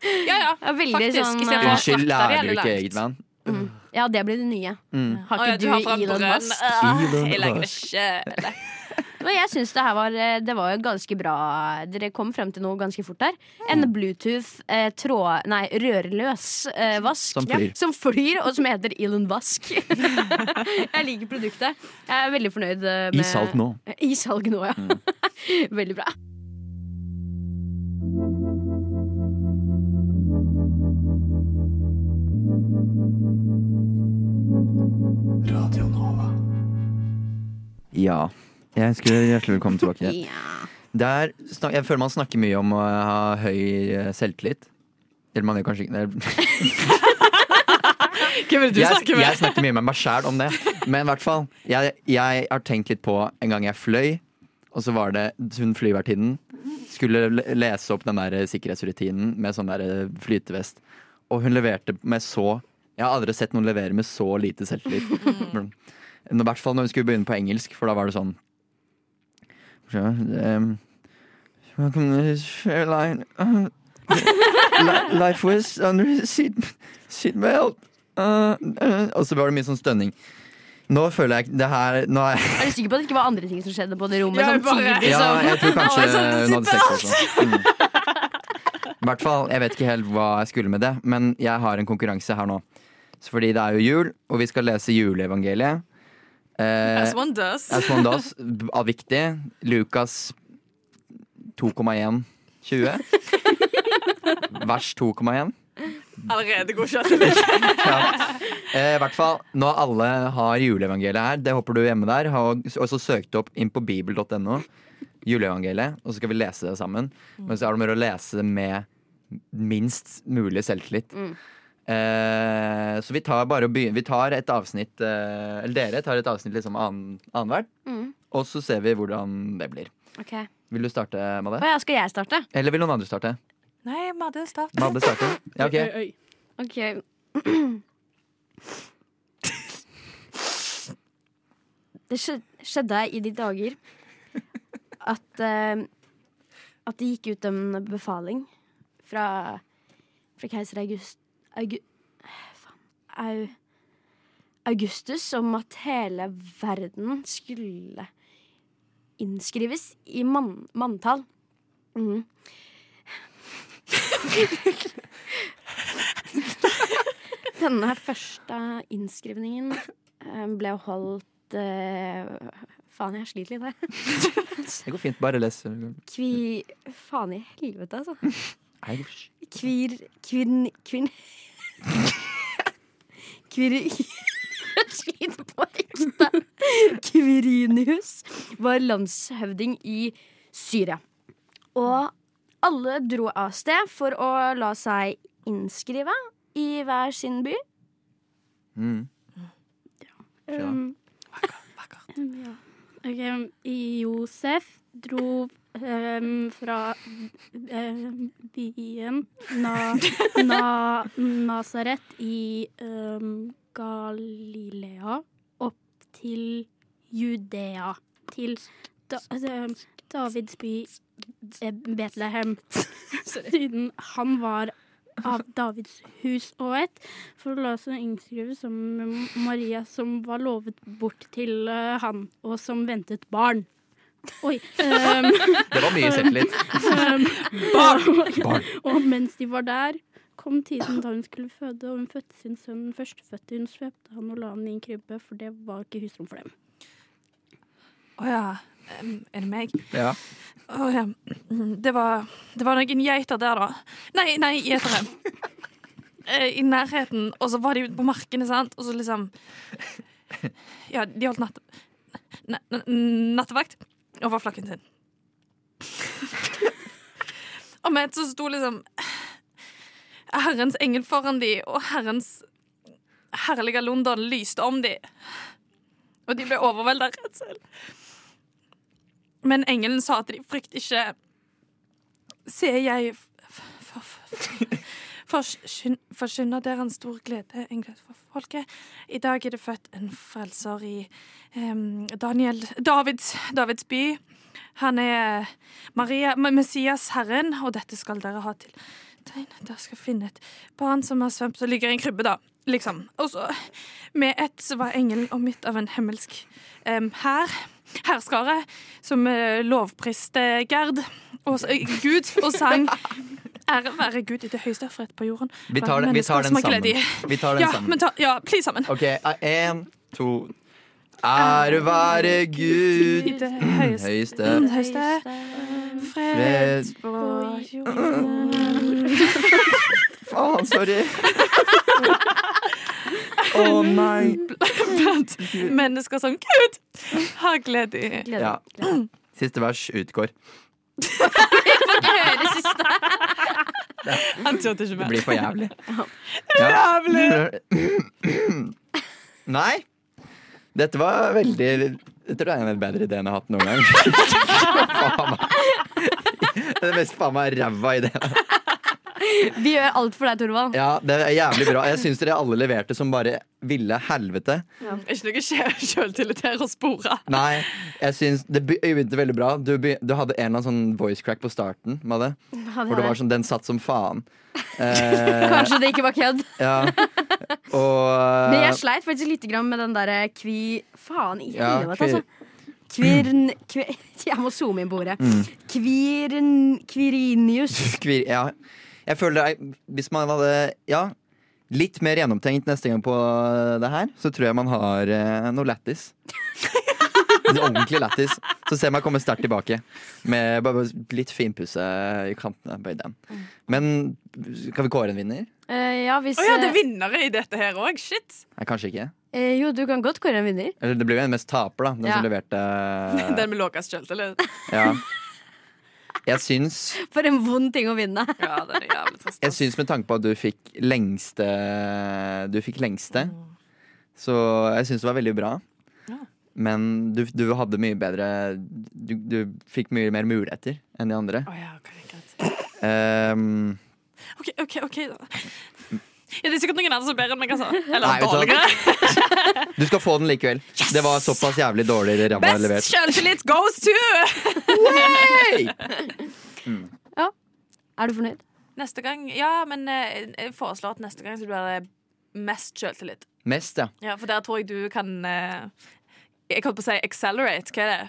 Ja, ja,
Ja, veldig
faktisk.
sånn,
istedenfor å frakte
Unnskyld,
det
lager du
jævlig
ikke
langt.
eget vann?
Ja, det blir det nye. Har
Mm.
Å, ja,
ikke
du har fra
du Elon
brønn.
Musk?
Ah,
Elon
Jeg lager det
Musk.
sjøl.
Men jeg synes det her var, eh, det var jo ganske bra Dere kom frem til noe ganske fort der. En Bluetooth eh, tråd, nei, rørløs eh, vask
Som flyr.
Ja, som flyr, og som heter Elon Vask. jeg liker produktet. Jeg er veldig fornøyd eh, med
I salg nå.
I salg nå, ja. veldig bra.
Ja. Jeg ønsker dere hjertelig velkommen tilbake.
Ja.
Der, snak- jeg føler man snakker mye om å ha høy eh, selvtillit. Eller man gjør kanskje ikke det.
Hvem vil
jeg, jeg snakker mye med meg sjæl om det. Men i hvert fall, jeg, jeg har tenkt litt på en gang jeg fløy, og så var det hun flyvertinnen skulle le- lese opp den der eh, sikkerhetsrutinen med sånn der flytevest, og hun leverte med så Jeg har aldri sett noen levere med så lite selvtillit. Mm. Men I hvert fall når hun skulle begynne på engelsk, for da var det sånn så, um, Welcome to this airline. Uh, li- life was under seat, seatbelt. Uh, uh, og så var det mye sånn stønning. Nå føler jeg det her nå er,
Er du sikker på at det ikke var andre ting som skjedde på det rommet? sånn
Ja,
samtidig
jeg bare-
Ja,
som-
jeg tror kanskje
Liksom. Nå er det
hun
sånn
hadde sex også. Mm. I hvert fall, jeg vet ikke helt hva jeg skulle med det, men jeg har en konkurranse her nå. Så fordi det er jo jul, og vi skal lese juleevangeliet. Eh,
As one does.
As one does. b- Av viktig. Lukas 2,120. Vers 2,1.
Allerede godkjent.
Eh, I hvert fall, nå alle har juleevangeliet her. Det håper du hjemme der. Har også søkt opp inn på bibel.no. Juleevangeliet. Og så skal vi lese det sammen. Men så er det mer å lese det med minst mulig selvtillit. Eh, så vi tar bare og begyn- Vi tar et avsnitt eh, Eller dere tar et avsnitt liksom annen- annethvert. Og så ser vi hvordan det blir.
Ok. Å
Vil du starte, Madde?
ja, skal jeg starte?
Eller vil noen andre starte?
Nei, Madde, start.
Madde starter. Ja, ok.
Oi, oi.
Ok. Det skje- skjedde i de dager at eh, At det gikk ut en befaling fra, fra keiser August Augu... Faen. Au... Augustus om at hele verden skulle innskrives i mann- manntall. Mhm. Denne første innskrivningen eh, ble holdt eh, Faen, jeg sliter litt her.
Det går fint, bare les.
Kvi... Faen i helvete, altså.
Nei, det går fint.
Kvir... Kvinn... Kvinn... Kvir... Jeg sliter på ekte. Kvirinius var landshøvding i Syria. Og alle dro av sted for å la seg innskrive i hver sin by.
Mm. Ja.
Um, um, ja. Ok, Josef dro um, fra um, byen na, na, Nazaret i um, Galilea opp til Judea. Til da, um, Davids by eh, Betlehem. Siden han var av Davids hus og ett, for å la seg innskrive som Maria som var lovet bort til eh, han, og som ventet barn. Oi. Um,
Det var mye selvtillit. Barn.
og mens de var der, kom tiden da hun skulle føde, og hun fødte sin sønn den førstefødte. Hun svøpte han og la han i en krybbe, for det var ikke husrom for dem.
Å ja. Em, Er det meg?
Ja.
Å ja. Mm, Det var, det var noen geiter der, da. Nei, nei, gjetere. Eh, I nærheten. Og så var de ute på markene, sant, og så liksom Ja, de holdt natt... na- na- nattevakt over flokken sin. og med et så sto liksom Herrens engel foran de, og Herrens herlige London lyste om de. Og de ble overveldet av redsel. Men engelen sa at de frykt ikke Se, jeg f- f- f- forsyn- forkynner dere en stor glede, en glede for folket. I dag er det født en frelser i em, Daniel Davids, Davids by. Han er Maria, M- Messias Herren, og dette skal dere ha til tegn. Dere skal finne et barn som har svømt og ligger i en krybbe, da. Liksom. Og så med ett så var engelen omgitt av en himmelsk um, hær, hærskare, som eh, lovpriste Gerd og, s- eh, Gud og sang Ære være Gud i det høyeste fred på jorden.
Vi tar, den- vi tar den sammen. Vi tar den
Ja,
sammen.
men ta, ja, please sammen.
Ok, én, to Ære være
I
Gud,
det høyeste,
høyeste
den høyeste
fred
fred på jorden.
Faen, sorry. Å nei.
Blant mennesker som Gud har glede i.
Gleder
Ja.
meg. Gleder meg.
Siste vers utgår.
Han turte ikke
Det
mer.
blir for jævlig. Jævlig! Nei. Dette var veldig Jeg tror det er en av de bedre ideene jeg har hatt noen gang. Faen meg. Det er mest faen meg ræva ideen.
Vi gjør alt for deg, Torvald.
Ja, det er jævlig bra. Jeg syns dere alle leverte som bare ville helvete.
Ikke noe sjø- sjøltillit her å spore.
Nei, jeg syns det be- begynte veldig bra. Du, be, du hadde en eller annen sånn voice crack på starten, Madde. Hvor det var sånn, den satt som faen. Eh,
Kanskje det ikke var kødd.
ja. Og
Men jeg sleit faktisk litt grann med den derre kvi... Faen i
Ja,
helvete,
kvir-
altså. Kvirn... Kvi, jeg må zoome inn på ordet.
Mm.
Kvirn... Kvirinius.
Kvir, ja. Jeg føler det er- Hvis man hadde Ja, litt mer gjennomtenkt neste gang på det her, så tror jeg man har eh, noe lættis. Ordentlig lættis. Så ser man komme sterkt tilbake. Med bare litt finpusse i kantene. Bare den. Men skal vi kåre en vinner?
Eh, ja, hvis
Å ja, det
eh,
er vinnere i dette her òg. Shit.
Nei, kanskje ikke.
eh, Jo, du kan godt kåre en vinner.
Eller det ble jo en mest taper, da. Den
Ja.
som leverte Eh.
Den med lavest sjøltillit.
ja. Jeg syns
For en vond ting å vinne.
Ja, den er jævlig trist. altså.
Jeg syns med tanke på at du fikk lengste Du fikk lengste, så jeg syns det var veldig bra.
Ja.
Men du, du hadde mye bedre du, du fikk mye mer muligheter enn de andre.
Å ja, ok, greit.
Ehm,
OK, OK, ok da. Ja, det er sikkert noen andre som er bedre enn meg, altså.
Nei,
Eller
vet du hva?
dårligere.
du skal få den likevel. Det var såpass jævlig dårlig ramma
Best
levert.
sjøltillit goes to
Hey!
Er du fornøyd?
Neste gang, ja, men eh, jeg foreslår at neste gang så blir det mest selvtillit.
Mest, ja.
Ja, for der tror jeg du kan eh, Jeg holdt på å si accelerate. Hva er det?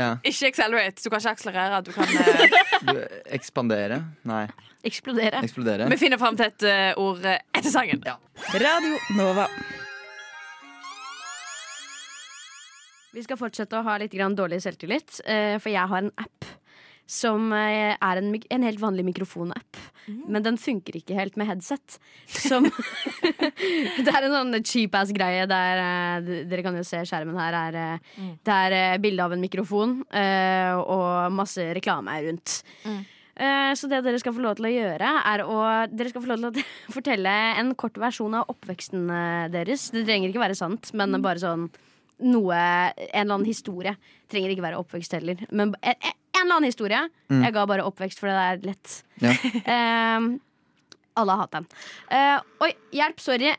ja.
Ikke accelerate. Du kan ikke akselerere. Du kan eh,
Du, Ekspandere? Nei,
Eksplodere.
eksplodere.
Vi finner fram til et eh, ord eh, etter sangen.
Radio Nova.
Vi skal fortsette å ha litt grann dårlig selvtillit, eh, for jeg har en app som eh, er en, mik- en helt vanlig mikrofonapp. Men den funker ikke helt med headset. Som Det er en sånn cheap-ass greie der eh, d- Dere kan jo se skjermen her. Er, eh, Det er eh, bilde av en mikrofon eh, og masse reklame rundt. Eh, Så det dere skal få lov til å gjøre, er å Dere skal få lov til å fortelle en kort versjon av oppveksten eh, deres. Det trenger ikke være sant, men bare sånn noe En eller annen historie. Trenger ikke være oppvekst heller. Men b- en, en eller annen historie. Jeg ga bare oppvekst, for det er lett.
Mm. Ja.
Eh, alle har hatt den. Eh, oi, hjelp, sorry.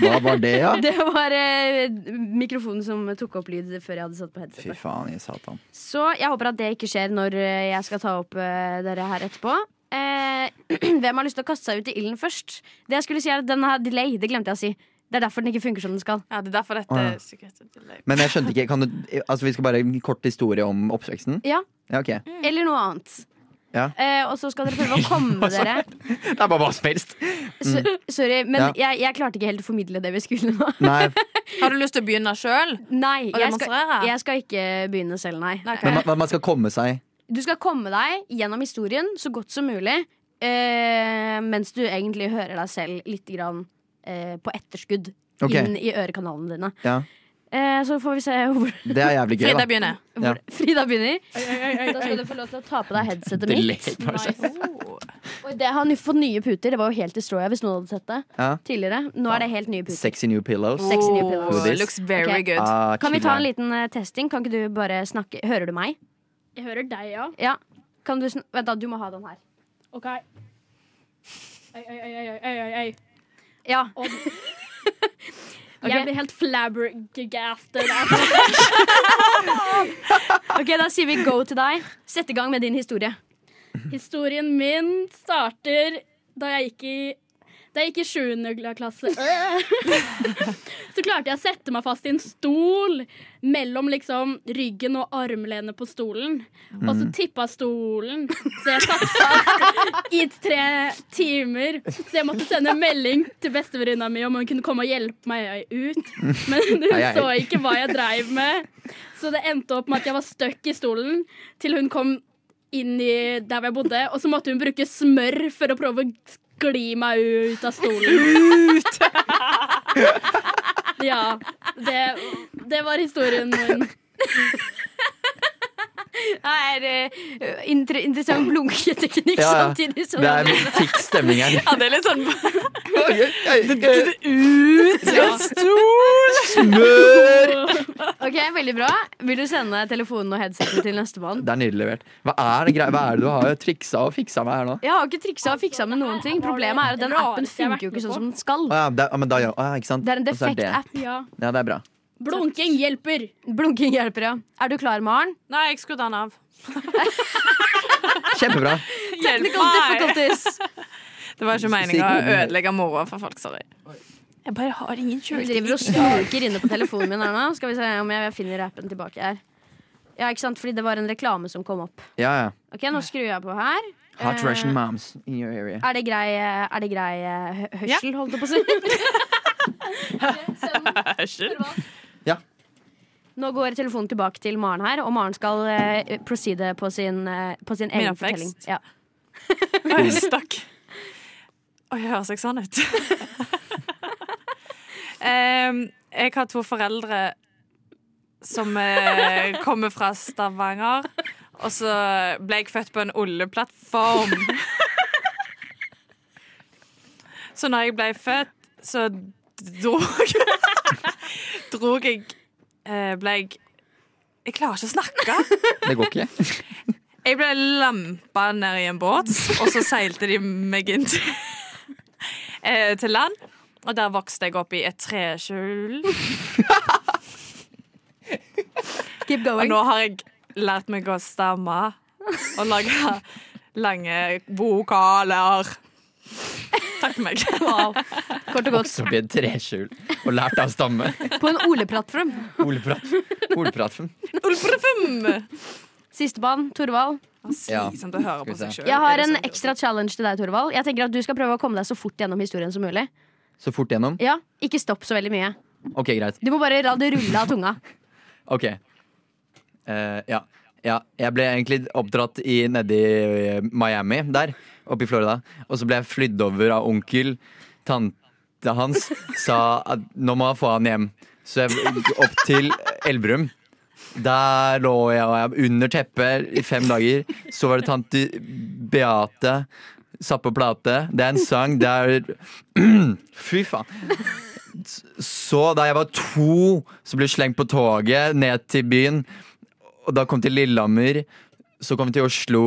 Hva var det, ja?
Det var eh, mikrofonen som tok opp lyd før jeg hadde satt på
Fy
headsetet.
faen i satan.
Så jeg håper at det ikke skjer når eh, jeg skal ta opp eh, dere her etterpå. Eh, hvem har lyst til å kaste seg ut i ilden først? Det jeg skulle si er at Den har delay. Det glemte jeg å si. Det er derfor den ikke funker som den skal.
Ja, det er derfor dette
Å, ja.
stykket heter Delay.
Men jeg skjønte ikke. Kan du, altså, vi skal bare en kort historie om oppveksten?
Ja, Mm.
Ja, ok.
Eller noe annet.
Ja.
Eh, og så skal dere prøve å komme dere.
Det er bare hva som helst.
Så, sorry, men
Mm. Ja.
jeg, jeg klarte ikke helt å formidle det vi skulle nå.
Nei,
Har du lyst til å begynne sjøl?
Nei,
Og
jeg skal,
demonstrere?
jeg skal ikke begynne selv, nei.
men man, man skal komme seg.
Du skal komme deg gjennom historien så godt som mulig, eh, mens du egentlig hører deg selv litt grann, eh, på etterskudd
Ok.
inn i ørekanalene dine.
Ja.
Eh, så får vi se hvor,
Det er jævlig gøy,
Frida
da.
begynner.
Ja.
hvor Frida begynner. Da skal du få lov til å ta på deg headsetet mitt.
Delay, bare. sånn
Og det har ny- fått nye puter. Det var jo helt destroya hvis noen hadde sett det
Ja.
tidligere. Nå er det helt nye puter.
Sexy new pillows.
Sexy new pillows.
Oh,
Hoodies.
looks very
Ok.
good.
Ah,
Kan vi ta en
chiller'n.
liten eh, testing? Kan ikke du bare snakke Hører du meg?
Jeg hører deg, ja.
Ja. Kan du sn Vent, da. Du må ha den her.
OK. Ei, ei, ei, ei, ei, ei, ei.
Ja.
Jeg blir helt flabbergasted.
Ok, Da sier vi go til deg. Sett i gang med din historie.
Historien min starter da jeg gikk i da jeg gikk i 7. klasse, Øh. så klarte jeg å sette meg fast i en stol mellom liksom ryggen og armlenet på stolen. Og
Mm.
så tippa stolen, så jeg satt fast i tre timer. Så jeg måtte sende en melding til bestevenninna mi om hun kunne komme og hjelpe meg ut. Men hun
Ai, ai.
så ikke hva jeg dreiv med, så det endte opp med at jeg var stuck i stolen til hun kom inn i der hvor jeg bodde, og så måtte hun bruke smør for å prøve å skli meg ut av stolen. Ut! ja. Det, det var historien min.
Det er eh, inter interessant blunketeknikk
Ja, ja.
samtidig som
Det er tikk stemning her.
Ja, det er litt sånn
Smør!
Ok, Veldig bra. Vil du sende telefonen og headsetet til nestemann?
Det er nydelig levert. Hva er det, grei- hva er det du har triksa og fiksa med her nå?
Jeg har ikke triksa og fiksa med noen ting. Problemet er at den appen funker jo ikke sånn som den skal.
Å ja, det, ja, men da, ja, å ja, ikke sant?
Det er en
Og så
defekt app.
Ja.
det. Ja, det er bra.
Blunking hjelper.
Blunking hjelper, ja. Er du klar, Maren?
Nei, jeg skrudde den av.
Kjempebra.
Hjelp
Technical difficulties.
Det var ikke meningen å ødelegge moroa for folk. Sorry. Jeg bare har ingen
Jeg driver og snoker inne på telefonen min her nå. Skal vi se om jeg finner appen tilbake her. Ja, ikke sant? Fordi det var en reklame som kom opp.
Ja, ja.
Ok, Nå skrur jeg på her.
Hot
Eh,
Russian moms in your area.
Er det grei, er det grei eh, hø- hørsel, holdt jeg på å si?
Unnskyld.
Nå går telefonen tilbake til Maren her, og Maren skal eh, proceede på sin, eh, på sin
Min
egen fortelling.
oppvekst.
Ja.
Oi, jeg stakk. Oi, jeg høres jeg sånn ut? Em, jeg har to foreldre som eh, kommer fra Stavanger. Og så ble jeg født på en oljeplattform. Så når jeg ble født, så dro jeg Dro jeg eh, Ble jeg Jeg klarer ikke å snakke.
Det går ikke.
Jeg ble lampa ned i en båt, og så seilte de meg inn til, eh, til land. Og der vokste jeg opp i et treskjul.
Keep
Og
going.
nå har jeg lært meg å stamme og lage lange vokaler. Takk bak meg.
Wow. Kort og godt.
Så blir det treskjul og lært av stamme.
På en Ole-plattform.
Olpratfen.
Ulfrefum!
Sistemann, Torvald.
Ja.
Slitsomt å høre på seg sjøl.
Jeg har en ekstra challenge til deg, Torvald. Jeg tenker at Du skal prøve å komme deg så fort gjennom historien som mulig.
Så fort gjennom?
Ja, Ikke stopp så veldig mye.
Ok, greit.
Du må bare la det rulle av tunga.
Ok. Eh, ja. ja. Jeg ble egentlig oppdratt i, nedi eh, Miami, der, oppe i Florida. Og så ble jeg flydd over av onkel. Tante hans sa at nå må jeg få han hjem. Så jeg gikk opp til Elverum. Der lå jeg, og jeg under teppet i fem dager. Så var det tante Beate. Satt på plate. Det er en sang der Fy faen. Så da jeg var to, så ble jeg slengt på toget ned til byen. Og da kom jeg til Lillehammer, så kom jeg til Oslo.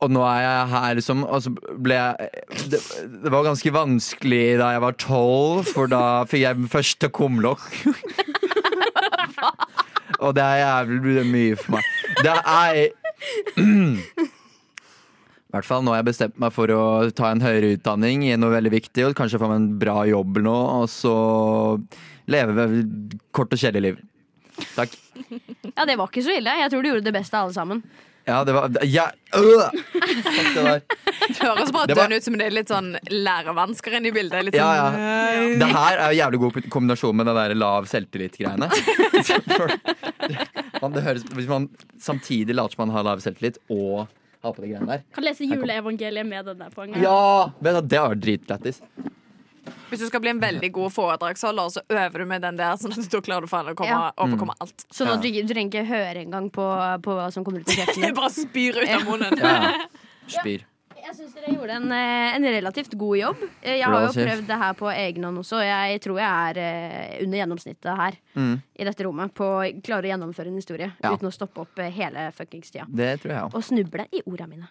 Og nå er jeg her, liksom. Og så ble jeg Det, det var ganske vanskelig da jeg var tolv, for da fikk jeg min første kumlokk. og det er jævlig mye for meg. Det er I hvert fall nå har jeg bestemt meg for å ta en høyere utdanning i noe veldig viktig, og kanskje få meg en bra jobb eller noe, og så leve et kort og kjedelig liv. Takk.
Ja, Det var ikke så ille. Jeg tror du gjorde det beste av alle sammen.
Ja, det var ja, øh! Fuck det der.
Høres bare
Det var-
dønn ut som det er litt sånn lærevansker inne i bildet. Litt
Ja,
sånn,
ja. Det her er jo jævlig god kombinasjon med den der lav selvtillit-greiene. Man- det høres- Hvis man samtidig later som man har lav selvtillit, og har på de greiene der.
Kan lese juleevangeliet med den der poengen.
Ja! Vet du, det var dritlættis.
Hvis du skal bli en veldig god foredragsholder, så øver du med den der. Sånn at da klarer du faen å komme,
Ja.
Mm.
overkomme alt.
Sånn at du, ikke- du trenger ikke høre engang på, på hva som kommer ut av kjeften
Jeg
din.
bare spyr ut av munnen.
Ja, ja. Spyr.
Jeg syns dere gjorde en, eh, en relativt god jobb. Eh, Jeg har jo
Relativt.
prøvd det her på egen hånd også, og jeg tror jeg er eh, under gjennomsnittet her. I dette rommet på å klare å gjennomføre en historie
Ja.
uten å stoppe opp eh, hele fuckings tida.
Det tror jeg òg.
Og snuble i orda mine.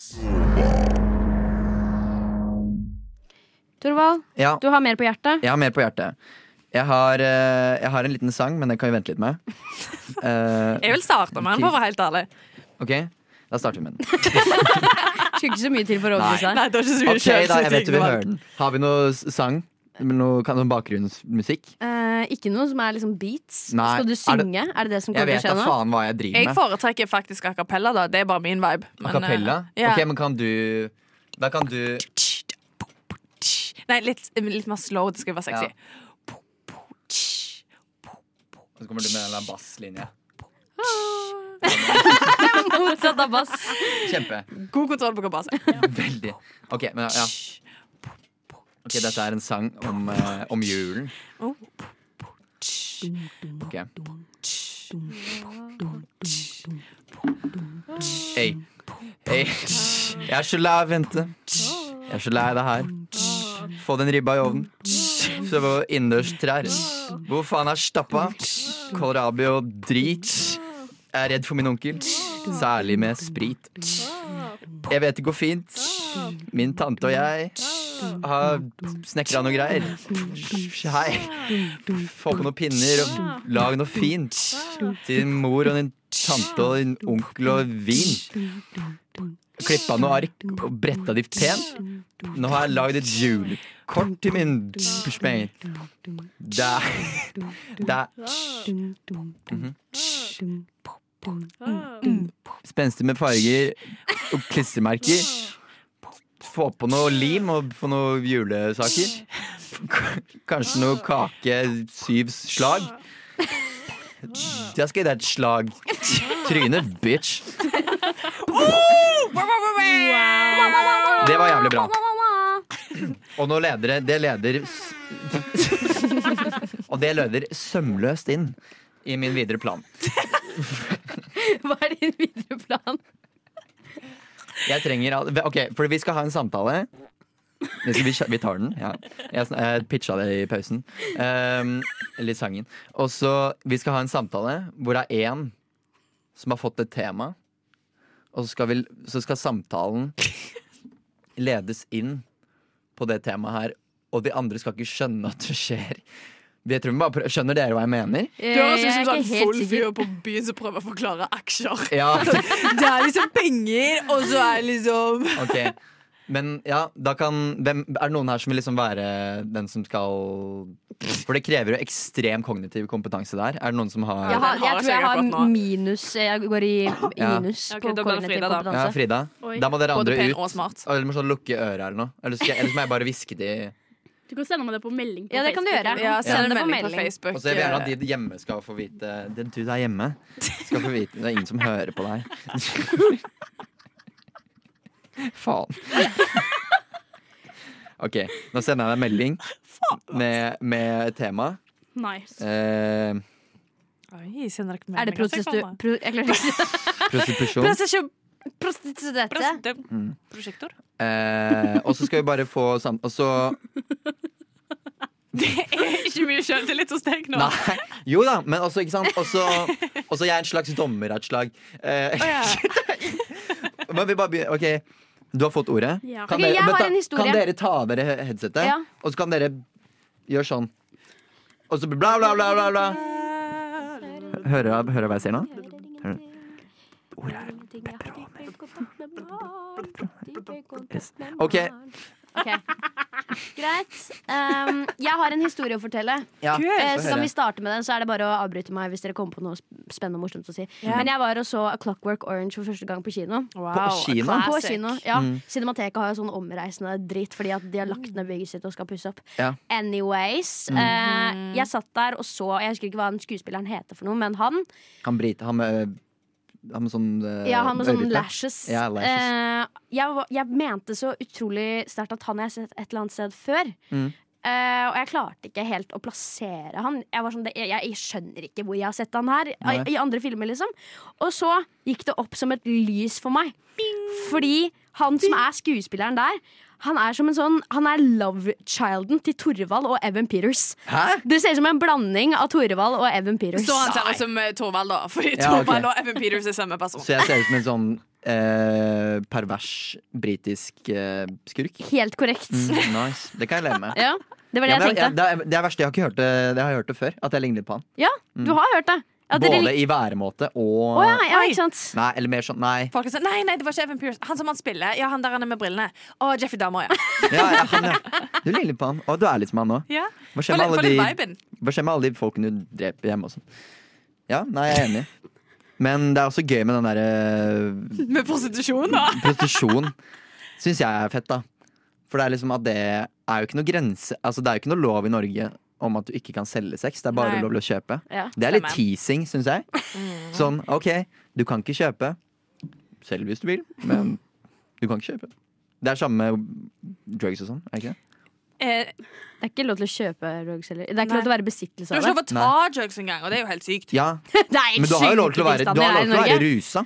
Torvald,
Ja.
du har mer på hjertet.
Jeg har mer på hjertet. Jeg har, eh, jeg har en liten sang, men den kan vi vente litt med. Eh,
Jeg vil starte med den, for å være helt ærlig.
ok, Da starter vi med den.
Skulle ikke så mye til for å overbevise deg.
Nei, det var ikke så mye
Ok, da, jeg vet
selvtillit
du vil
valgt.
høre den Har vi noe s- sang? Med noe, kan- noe bakgrunnsmusikk?
Eh, ikke noe som er liksom beats.
Nei,
Skal
er
du
det-
synge? Er det, det som
Jeg
kommer til å
vet da
skje nå?
faen hva jeg driver
Jeg
med.
foretrekker faktisk a cappella, da. Det er bare min vibe. Men,
A cappella?
eh, ja.
Ok, men kan du Da kan du
Nei, litt, litt mer slow. Det skal være sexy.
Ja. Så kommer du med den der basslinja.
Motsatt av bass.
Kjempe.
God kontroll på kabase.
Veldig. Ok, men ja. Ok, dette er en sang om, eh, om julen. Ok. Hei. Hei. Jeg er så lei av å vente. Jeg er så lei av det her. Få den ribba i ovnen. Så det var innendørs trær. Hvor faen er stappa? Kålrabi og drit. Jeg er redd for min onkel. Særlig med sprit. Jeg vet det går fint. Min tante og jeg har snekra noe greier. Hei. Få på noen pinner og lag noe fint. Til din mor og din tante og din onkel og vin. Klippa noe ark og bretta de pent. Nå har jeg lagd et julekort til min bursdag. Det er Det er spenstig med farger og klistremerker. Få på noe lim og få noe julesaker. K- Kanskje noe kake syv slag. Jeg skal gi deg et slag. Trynet, bitch. Det var jævlig bra. Og nå leder det Det leder s- Og det leder sømløst inn i min videre plan.
Hva er din videre plan?
Jeg trenger al- Ok, for vi skal ha en samtale. Vi, skal, vi kjø- vi tar den. Ja. Jeg, sn- jeg pitcha det i pausen. Um, eller i sangen. Og så Vi skal ha en samtale hvor det er én som har fått et tema. Og så skal, vi, så skal samtalen ledes inn på det temaet her. Og de andre skal ikke skjønne at det skjer. Jeg tror vi bare prø- Skjønner dere hva jeg mener?
Du høres ut som
Jeg er
sånn
ikke helt
full
sikker.
fyr på byen som prøver å forklare aksjer.
Ja,
Det er liksom penger, og så er liksom
ok Men ja, da kan hvem, Er det noen her som vil liksom være den som skal For det krever jo ekstrem kognitiv kompetanse der. Er det noen som har
Jeg, har,
den har
jeg tror
jeg
jeg
sikkert akkurat
har
nå.
minus Jeg går i
Ja.
minus
Ok,
på
da blir det
kognitiv
Frida, da.
Ja,
kompetanse.
Frida?
Oi.
Da må dere
Både
andre
pen
ut.
og smart.
Eller må sånn lukke øret eller noe. Eller skal jeg- eller så må jeg bare hviske de
Du kan sende meg det på melding. På
Ja, det kan du
Facebook
gjøre.
eller
Ja,
noe.
send
Ja.
en melding
På
på
melding.
Facebook.
Og så vil jeg gjerne at de hjemme skal få vite Den du der hjemme skal få vite Det er ingen som hører på deg. Faen. OK, nå sender jeg deg en melding med, med tema.
Nice.
Eh,
Oi, sender dere Altså,
Er det
meldinger til
prostitu...
hverandre?
Pro, jeg klarer ikke å si
prostitusjon.
Prostitu-
prostituerte.
prostitu-
Mm.
Prosjektor?
Eh, og så skal vi bare få sam... Og så
Det er ikke mye sjøltillit hos deg nå.
Nei. Jo da, men også, ikke sant Også, også jeg er en slags dommer av et slag. Eh,
Å, ja.
men vi bare begynner. OK, du har fått ordet.
Ja.
Ok, jeg
men
har
ta-
en historie.
kan dere ta av dere he- headsetet,
Ja.
og så kan dere gjøre sånn. Og så bla, bla, bla, bla. bla. Hører dere hører dere hva jeg sier nå? OK.
Greit. Um, jeg har en historie å fortelle.
Ja.
Eh,
Få
Så kan
høre.
vi starte med den, så er det bare å avbryte meg hvis dere kommer på noe sp- spennende og morsomt å si. Men jeg var og så A Clockwork Orange for første gang på kino.
Wow,
kino? Mm.
classic.
På kino, ja Cinemateket har jo sånn omreisende dritt fordi at de har lagt ned bygget sitt og skal pusse opp.
Ja. Mm.
Anyways, eh, jeg satt der og så Jeg husker ikke hva den skuespilleren heter for noe, men han.
Han brite, han med, han med sånn eh,
Ja, han med sånne
ørete.
lashes.
Ja, lashes.
Eh, jeg, var- jeg mente så utrolig sterkt at han har jeg sett et eller annet sted før.
Mm.
Eh, og jeg klarte ikke helt å plassere han. Jeg, var sånn, det- jeg, jeg skjønner ikke hvor jeg har sett han her.
Nei.
I, I andre filmer, liksom. Og så gikk det opp som et lys for meg. Fordi han som er skuespilleren der, han er som en sånn Han er love-childen til Torvald og Evan Peters.
Hæ?
Det ser ut som en blanding av Torvald og Evan Peters.
Så han ser ut som eh, Torvald, da. Fordi
Ja, ok.
Torvald og Evan Peters er samme person.
Så jeg ser ut som en sånn eh, pervers britisk eh, skurk.
Helt korrekt.
Mm, nice. Det kan jeg leve med.
Ja, det var det
Ja,
jeg
men
tenkte.
jeg- det, er, det er verst, jeg har ikke hørt det, det har jeg hørt det før. At jeg ligner litt på han.
Ja, du har hørt det. Ja, dere
Mm. Både
lik-
i væremåte
Å
og
ja, ja,
Oi.
ikke sant.
Nei, eller mer sånn Nei.
Folk er sånn, nei, nei, det var ikke Evan Peters. Han som han spiller. Ja, han der han er med brillene. Å, Jeffrey Dahmer, ja.
Ja, ja, han, ja. Du ligner litt på han. Og du er litt som han nå.
ja.
Hva skjer
For,
med
for
alle
den
de,
viben.
hva skjer med alle de folkene du dreper hjemme og sånn? Ja, nei, jeg er enig. Men det er også gøy med den eh, derre
Med prostitusjon, da.
prostitusjon. Syns jeg er fett, da. For det er liksom at det er jo ikke noe grense Altså det er jo ikke noe lov i Norge om at du ikke kan selge sex. Det er bare
Nei.
lov til å kjøpe.
Ja.
Det er litt
Stemmer.
teasing, syns jeg. Sånn, OK, du kan ikke kjøpe. Selv hvis du vil, men du kan ikke kjøpe. Det er samme med drugs og sånn, er det ikke det?
Eh,
Det er ikke lov til å kjøpe drugs heller. Det er ikke lov til å være i
du
besittelse
har ikke
av
lov
det.
å ta drugs engang, og det er jo helt sykt.
Ja,
Det er
men du har jo lov til å være, du har lov til å være rusa.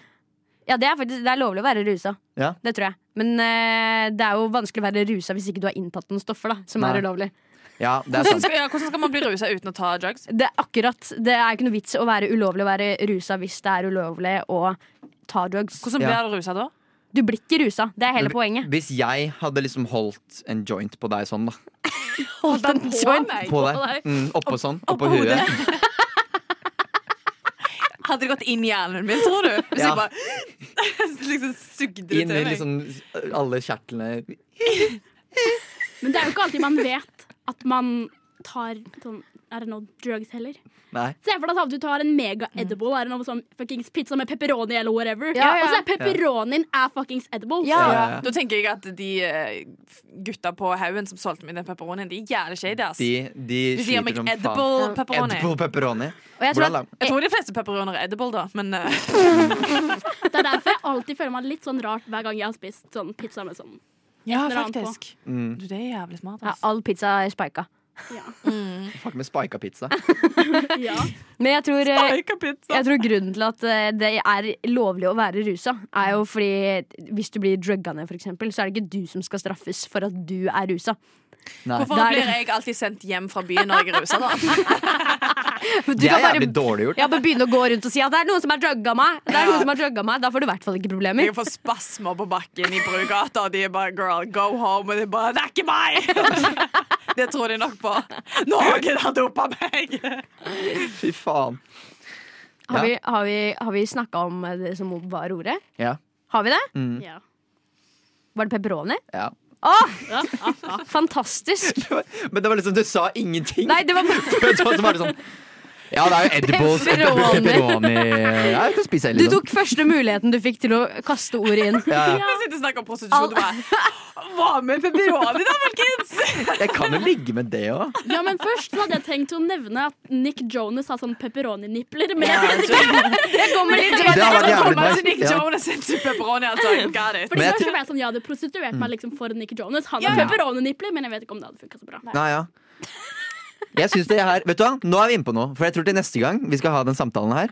Ja, det er faktisk det er lovlig å være rusa.
Ja.
Det tror jeg. Men eh, det er jo vanskelig å være rusa hvis ikke du har inntatt noen stoffer da, som
Nei.
er ulovlig.
Ja, det er
Hvordan
sant.
skal, ja, hvordan skal man bli rusa uten å ta drugs?
Det er akkurat. Det er ikke noe vits å være ulovlig å være rusa hvis det er ulovlig å ta drugs.
Hvordan
Ja.
blir du rusa da?
Du blir ikke rusa. Det er hele poenget.
Hvis jeg hadde liksom holdt en joint på deg sånn, da.
Holdt en joint
meg.
På deg. Mm, oppå sånn. Oppå
Oppå
huet.
Hadde det gått inn i hjernen min, tror du? Hvis
Ja.
jeg bare liksom sugde det til
Inn i
meg.
liksom alle kjertlene.
Men det er jo ikke alltid man vet at man tar sånn Er det nå drugs heller?
Nei.
Se for deg at du tar en mega
Mm.
edible. Er det noe sånn fuckings pizza med pepperoni eller whatever?
Ja, ja.
Og så er pepperonien er fuckings edible.
Ja.
Ja, ja.
Da tenker jeg at de eh, gutta på haugen som solgte meg den pepperonien, de er jævlig shady, ass.
De, de
De gir
sliter
meg
som faen.
edible pepperoni.
Edible pepperoni.
Og jeg tror
Hvordan
at
lag-
Jeg tror de fleste pepperoner er edible, da, men eh,
Det er derfor jeg alltid føler meg litt sånn rart hver gang jeg har spist sånn pizza med sånn.
Ja,
Dra den på.
faktisk.
Mm.
ah, Du, det er jævlig smart,
ja,
ass.
all pizza er spika.
Fuck med spika pizza.
Ja.
Men jeg tror eh,
Steika pizza.
Jeg tror grunnen til at eh, det er lovlig å være rusa, er jo fordi hvis du blir drugga ned, for eksempel, så er det ikke du som skal straffes for at du er rusa.
Nei.
Hvorfor
Der-
blir jeg alltid sendt hjem fra byen når jeg er rusa, da?
Men Du
Det er
kan
jævlig
bare
dårlig gjort.
ja, bare begynne å gå rundt og si at det er noen som har drugga meg. Det er noen som har drugga meg Da får du i hvert fall ikke problemer.
Jeg får spasmer på bakken i Brugata, og de er bare 'girl, go home', og de bare 'det er ikke meg'! Det tror de nok på. Noen har dopa meg!
Fy faen.
Har vi, har vi, har vi snakka om det som var ordet?
Ja.
Har vi det?
ja.
Var det pepperoni?
Ja.
Fantastisk!
Men det var liksom, du sa ingenting.
Nei, det var
Så var det sånn Ja, det er jo edibles
Pepperoni.
pepperoni Ja, jeg kan spise
Du
litt.
tok første muligheten du fikk til å kaste ordet inn.
Ja, ja.
Vi sitter og snakker om prostitusjon. Du bare Hva med pepperoni, da, folkens?
jeg kan jo ligge med det òg.
Ja, men Først så hadde jeg tenkt å nevne at Nick Jonas har sånn pepperoninipler. Men jeg vet ikke
Det kommer litt
altså. Det hadde vært jævlig nice,
Nick
ja.
Jonas sin pepperoni. Altså. Got it.
Fordi
Men jeg
først
tror-
så ble jeg sånn, Ja, det prostituerte meg liksom for Nick Jonas. Han
Ja,
har
ja.
pepperoninipler, men jeg vet ikke om det hadde funka så bra.
Nei, ja. Jeg synes det her, vet du hva, Nå er vi inne på noe. For jeg tror til neste gang vi skal ha den samtalen her,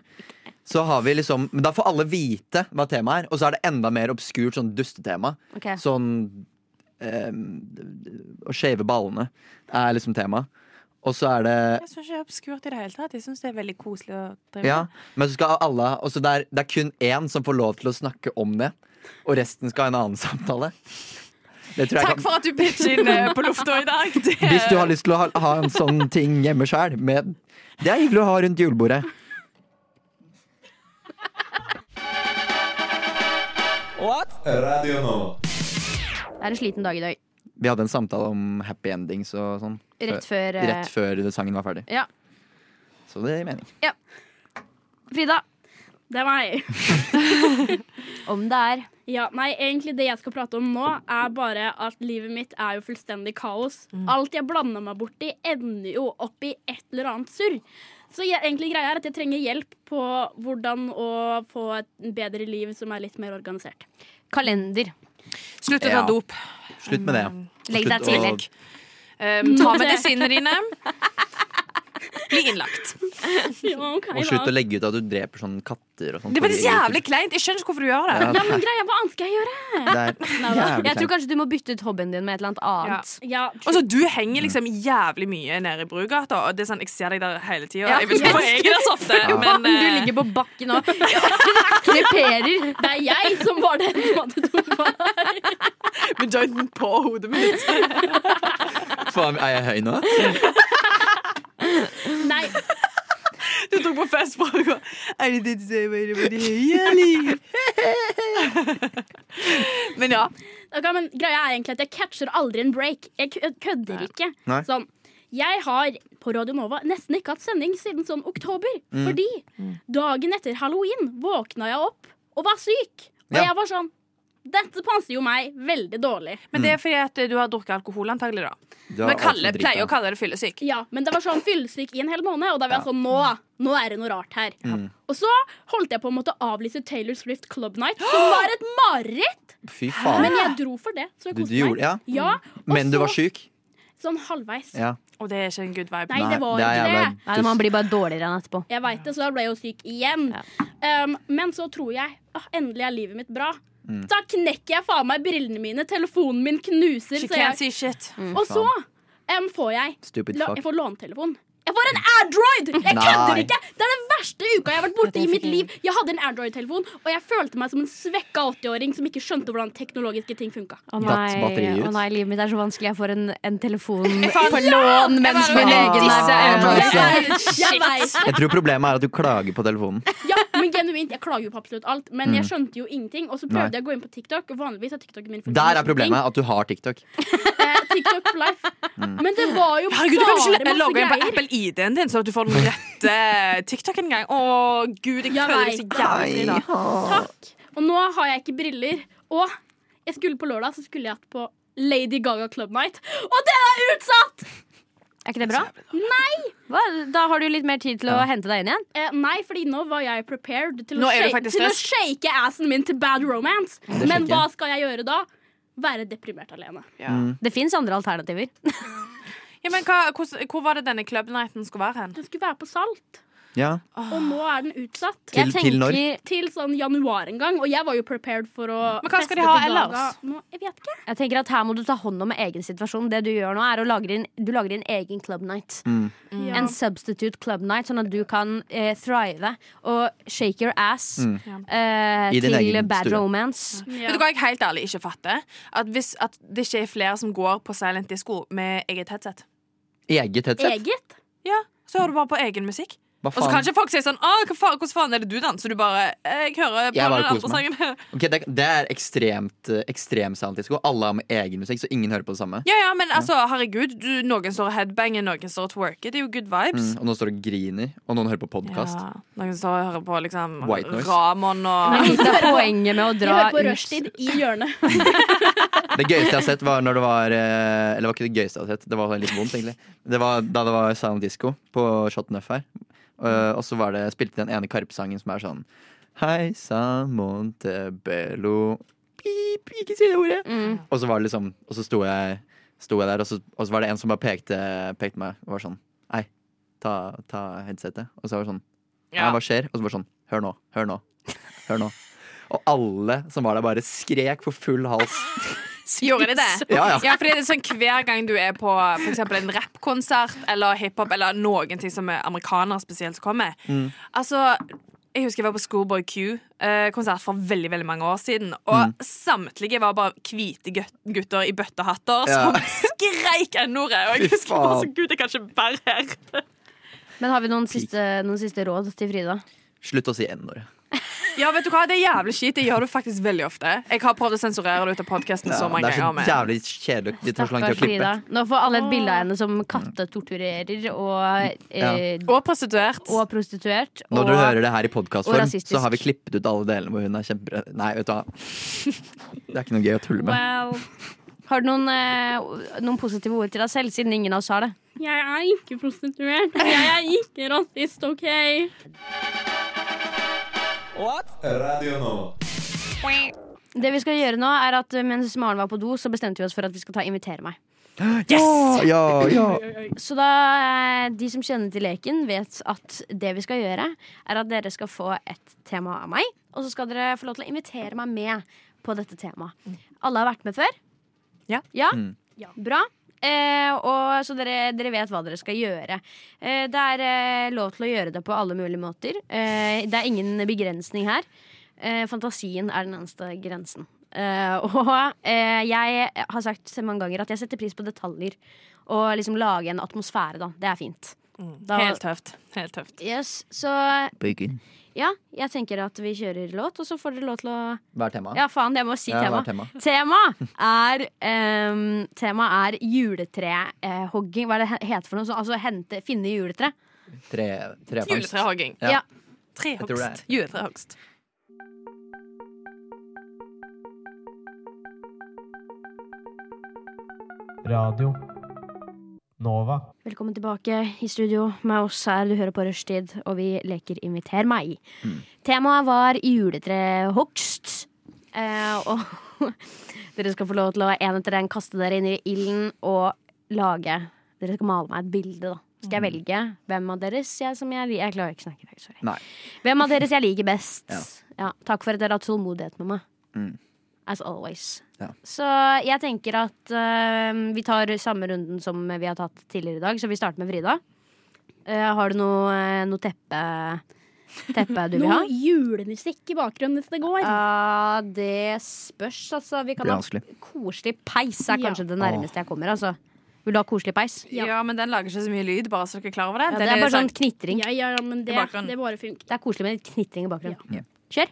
så har vi liksom Men da får alle vite hva temaet er, og så er det enda mer obskurt sånn dustetema.
Ok.
Sånn eh, Å shave ballene er liksom temaet. Og så er det
Jeg syns ikke det er obskurt i det hele tatt. Jeg syns det er veldig koselig å drive
Ja, men så skal alle Og så det er, det er kun én som får lov til å snakke om det, og resten skal ha en annen samtale. Det tror jeg
Takk
kan
for at du pitcher inn eh, på lufta i dag. Det-
Hvis du har lyst til å ha, ha en sånn ting hjemme sjøl, med Det er hyggelig å ha rundt julebordet.
Radio nå.
Det er en sliten dag i dag.
Vi hadde en samtale om happy endings og sånn.
Rett før eh,
Rett før sangen var ferdig.
Ja.
Så det gir mening.
Frida,
Det er meg.
om det er
Ja, nei, egentlig Det jeg skal prate om nå, er bare at livet mitt er jo fullstendig kaos.
Mm.
Alt jeg blander meg borti, ender jo opp i et eller annet surr. Så jeg, egentlig greia er at jeg trenger hjelp på hvordan å få et bedre liv som er litt mer organisert.
kalender.
Slutt å ta
Ja.
dop.
Slutt med det.
Legg deg
Slutt
tidlig.
å-
Um, ta medisinene dine. Bli innlagt.
Ja, ok,
Og slutt å
da.
legge ut at du dreper sånne katter og sånn.
Det er faktisk jævlig kleint. Jeg skjønner ikke hvorfor du gjør det.
Ja,
Ja, men greia, hva annet skal jeg gjøre?
det er jævlig
Jeg tror
kleint.
kanskje du må bytte ut hobbyen din med et eller annet annet.
Ja,
Altså, du henger liksom jævlig mye nede i Brugata, og det er sånn, jeg ser deg der hele tida.
Ja.
Jeg vet ikke hvorfor jeg er der så ofte,
Ja.
men
du
eh,
ligger på bakken nå. Kreperer.
Det er jeg som var den som hadde dumpa.
med jointen på hodet mitt.
Faen, er jeg høy nå?
Nei,
Du tok på fest for å gå Er det det du sier bare på det hele? Men ja.
ok, men greia er egentlig at jeg catcher aldri en break. Jeg kø- kødder ikke.
Nei.
Sånn, jeg har på Radio Nova nesten ikke hatt sending siden sånn oktober.
Mm.
Fordi dagen etter halloween våkna jeg opp og var syk. Og
Ja.
jeg var sånn Dette passer jo meg veldig dårlig.
Men det er fordi at du har drukket alkohol, antagelig, da.
Du har
Vi kaller-
alt for
pleier å
dritt, da.
kalle det fyllesyk.
Ja, Men det var sånn fyllesyk i en hel måned, og da var jeg sånn Nå, nå er det noe rart her.
Mm.
Og så holdt jeg på en måte å avlyse Taylor Swift Club Night, som var et mareritt.
Fy faen.
Men jeg dro for det, så jeg
Du, du
koste meg.
gjorde Ja.
Ja, og
Men du
så-
var syk?
Sånn halvveis.
Ja.
Og det er ikke en good vibe.
Nei, det var
er
ikke
jævla
det.
Nei, man blir bare dårligere enn etterpå.
Jeg veit det, så da ble jeg jo syk igjen.
Ja.
Um, men så tror jeg åh, endelig er livet mitt bra.
Mm.
Da knekker jeg faen meg brillene mine, telefonen min knuser,
She
så
can't
jeg,
see shit.
og så um, får jeg
Stupid
la,
fuck.
Jeg får lånetelefon. Jeg får en Android! Jeg kødder
Nei.
ikke! Det er den verste uka jeg har vært borte i mitt liv. Jeg hadde en Android-telefon, og jeg følte meg som en svekka 80-åring som ikke skjønte hvordan teknologiske ting funka.
Å
Datt batteriet
nei,
ut.
å nei, livet mitt er så vanskelig. Jeg får en, en telefon
faen-
på lån mens
Jeg bare-
legen er sånn. på
Disse
øvelse.
øvelser.
Jeg vet
Jeg tror problemet er at du klager på telefonen.
Ja, men genuint, Jeg klager jo på absolutt alt, men jeg skjønte jo ingenting. Og så
Mm.
prøvde
Nei.
jeg å gå inn på TikTok. og Vanligvis er TikTok min funksjon.
Der er problemet at du har TikTok.
Eh, TikTok for life.
Mm.
Men det var jo
Herregud, du kan
bare
ikke
masse
logge inn på
greier.
Apple ID-en din, sånn at du får den rette TikTok en gang. Å, gud, jeg
Jeg
føler meg
vet.
så jævlig fri da.
Takk. Og nå har jeg ikke briller. Og jeg skulle på lørdag så skulle jeg hatt på Lady Gaga Club Night, og den er utsatt!
Er ikke det bra? Hva? Da har du litt mer tid til å hente deg inn igjen.
Eh, nei, fordi nå var jeg prepared til, å,
Nå er du
shake,
faktisk
til å
frisk.
shake assen min til bad romance.
skjønner
Men
jeg.
hva skal jeg gjøre da? Være deprimert alene.
Ja.
Det fins andre alternativer.
Ja, men hva, hvor, hvor var det denne club nighten skulle være hen?
Den skulle være på Salt,
Ja.
og nå er den utsatt.
Til,
Jeg
til når?
tenker-
til sånn januar en gang, og jeg var jo prepared for å
Men hva skal
feste
de ha
til dagen.
ellers?
Nå, jeg vet ikke.
Jeg tenker at Her må du ta hånd om egen situasjon. Det Du gjør nå er å lage din, du lager din egen club night.
Mm.
Ja.
Mm. En substitute club night, sånn at du kan eh, thrive og shake your ass eh,
I din
til
egen
bad
stue.
romance.
Ja.
Vet du hva jeg helt ærlig ikke fatter? At, hvis, at det ikke er flere som går på silent disco med eget headset.
Eget headset?
Eget?
Ja, Så hører du bare på egen musikk.
Hva
Og så kan
faen?
ikke folk si sånn «Å, hva faen, 'Hvordan faen er det du danser?' Du bare «Eh, 'Jeg hører på
Jeg bare
den andre
koser meg.
sangen'.
Ok, det, det er ekstremt eh, ekstrem sound disco. Alle har med egen musikk, så ingen hører på det samme.
Ja, ja, men altså, herregud, du, noen står og headbanger, noen står og twerker. Det er jo good vibes.
Mm, og noen står og griner, og noen hører på podkast.
Ja, noen står og hører på liksom
Mm, White noise.
Ramon og
Men litt av poenget med å
Vi
dra
hører på
ut-
rushtid i hjørnet.
Det gøyeste jeg har sett, var når det var eh, Eller det var ikke det gøyeste jeg har sett, det var litt vondt, egentlig. Det var da det var sound disco på Shot Nuff her. Eh, og så var det, spilte de den ene Karpe-sangen som er sånn Hei sann, Montebello Pip, ikke si det ordet!
Mm.
Og så var det liksom Og så sto jeg, sto jeg der, og så, og så var det en som bare pekte, pekte meg og var sånn Hei, ta, ta headsetet. Og så var det sånn
ja.
Nei, hva skjer? Og så bare sånn, hør nå, hør nå, hør nå. Og alle som var der bare skrek for full hals.
Gjorde de det?
Ja, ja.
fordi det er sånn Hver gang du er på for eksempel en rappkonsert eller hiphop eller noen ting som er amerikanere spesielt som kommer
Mm.
Altså, Jeg husker jeg var på Schoolboy Q-konsert for veldig veldig mange år siden.
Mm.
Og samtlige var bare hvite gut- gutter i bøttehatter
Ja.
som skreik N-ordet. Og jeg
Fy
husker bare så
faen.
Gud, jeg kan ikke være her.
Men har vi noen siste, noen siste råd til Frida?
Slutt å si n-ordet.
Ja, vet du hva, Det er jævlig kjipt. Det gjør du faktisk veldig ofte. Jeg har prøvd å sensurere det ut av podkasten
Ja,
så mange
det er så
ganger. men-
jævlig kjedelig. Det tar så lang tid
Stakkars
å klippe.
Frida. Nå får alle et bilde av henne som kattetorturerer og, eh,
Og prostituert.
og prostituert.
Når
og
dere hører det her i
og
podkastform,
rasistisk.
så har vi klippet ut alle delene hvor hun er kjempebra. Nei, vet du hva. Det er ikke noe gøy å tulle med.
Well,
Har du noen, eh, noen positive ord til deg selv, siden ingen av oss har det?
jeg er ikke prostituert. Jeg er ikke rasist, OK?
Radio Nova.
Det vi skal gjøre nå er at eh, Mens Maren var på do, så bestemte vi oss for at vi skal ta Invitere meg.
Yes! Ja, ja.
Så da eh, de som kjenner til leken, vet at det vi skal gjøre, er at dere skal få et tema av meg. Og så skal dere få lov til å invitere meg med på dette temaet. Alle har vært med før?
Ja.
ja?
Mm.
Ja.
Bra. Eh, og, så dere, dere vet hva dere skal gjøre. Eh, det er eh, lov til å gjøre det på alle mulige måter. Eh, det er ingen begrensning her. Eh, fantasien er den eneste grensen. Eh, og eh, jeg har sagt så mange ganger at jeg setter pris på detaljer. Og liksom lage en atmosfære, da. Det er fint. Da-
Helt tøft. Helt tøft.
Yes, så
Bøygen.
ja, jeg tenker at vi kjører låt, og så får dere lov til å
Hva er temaet?
Ja, faen, jeg må si
Ja, hva
tema.
er temaet?
Tema er, um, tema er juletrehogging. Hva er det he- heter for noe? Så, altså hente, finne juletre.
Tre, trefangst.
Juletrehogging.
Ja.
Ja.
Jeg tror det
Trehogst.
er.
Juletrehogst.
Radio Nova.
Velkommen tilbake i studio med oss her. Du hører på Rushtid, og vi leker Inviter meg. Temaet var juletrehogst. Eh, og dere skal få lov til å en etter en kaste dere inn i ilden og lage Dere skal male meg et bilde, da. Skal jeg
Mm.
velge hvem av deres jeg som jeg liker Jeg klarer ikke å snakke i dag, sorry.
Nei.
Hvem av deres jeg liker best?
Ja.
Ja. takk for at dere har tålmodighet med meg.
Mm.
As always.
Ja.
Så jeg tenker at eh, vi tar samme runden som vi har tatt tidligere i dag, så vi starter med Frida. Eh, har du noe, eh, noe teppe, teppe du vil ha?
Noe julemusikk i bakgrunnen hvis det går.
Ja, Ah, det spørs, altså. Vi kan
Blir
ha
vanskelig.
koselig peis, er
Ja.
kanskje det nærmeste jeg kommer. Altså. Vil du ha koselig peis?
Ja.
Ja.
men den lager ikke så mye lyd, bare så dere er klar over det.
Ja,
Den
det er
er
bare sånn
sånn-
knitring.
Ja, ja, men det,
I bakgrunnen.
det bare funker.
Det er koselig med litt knitring i bakgrunnen.
Ja.
Kjør.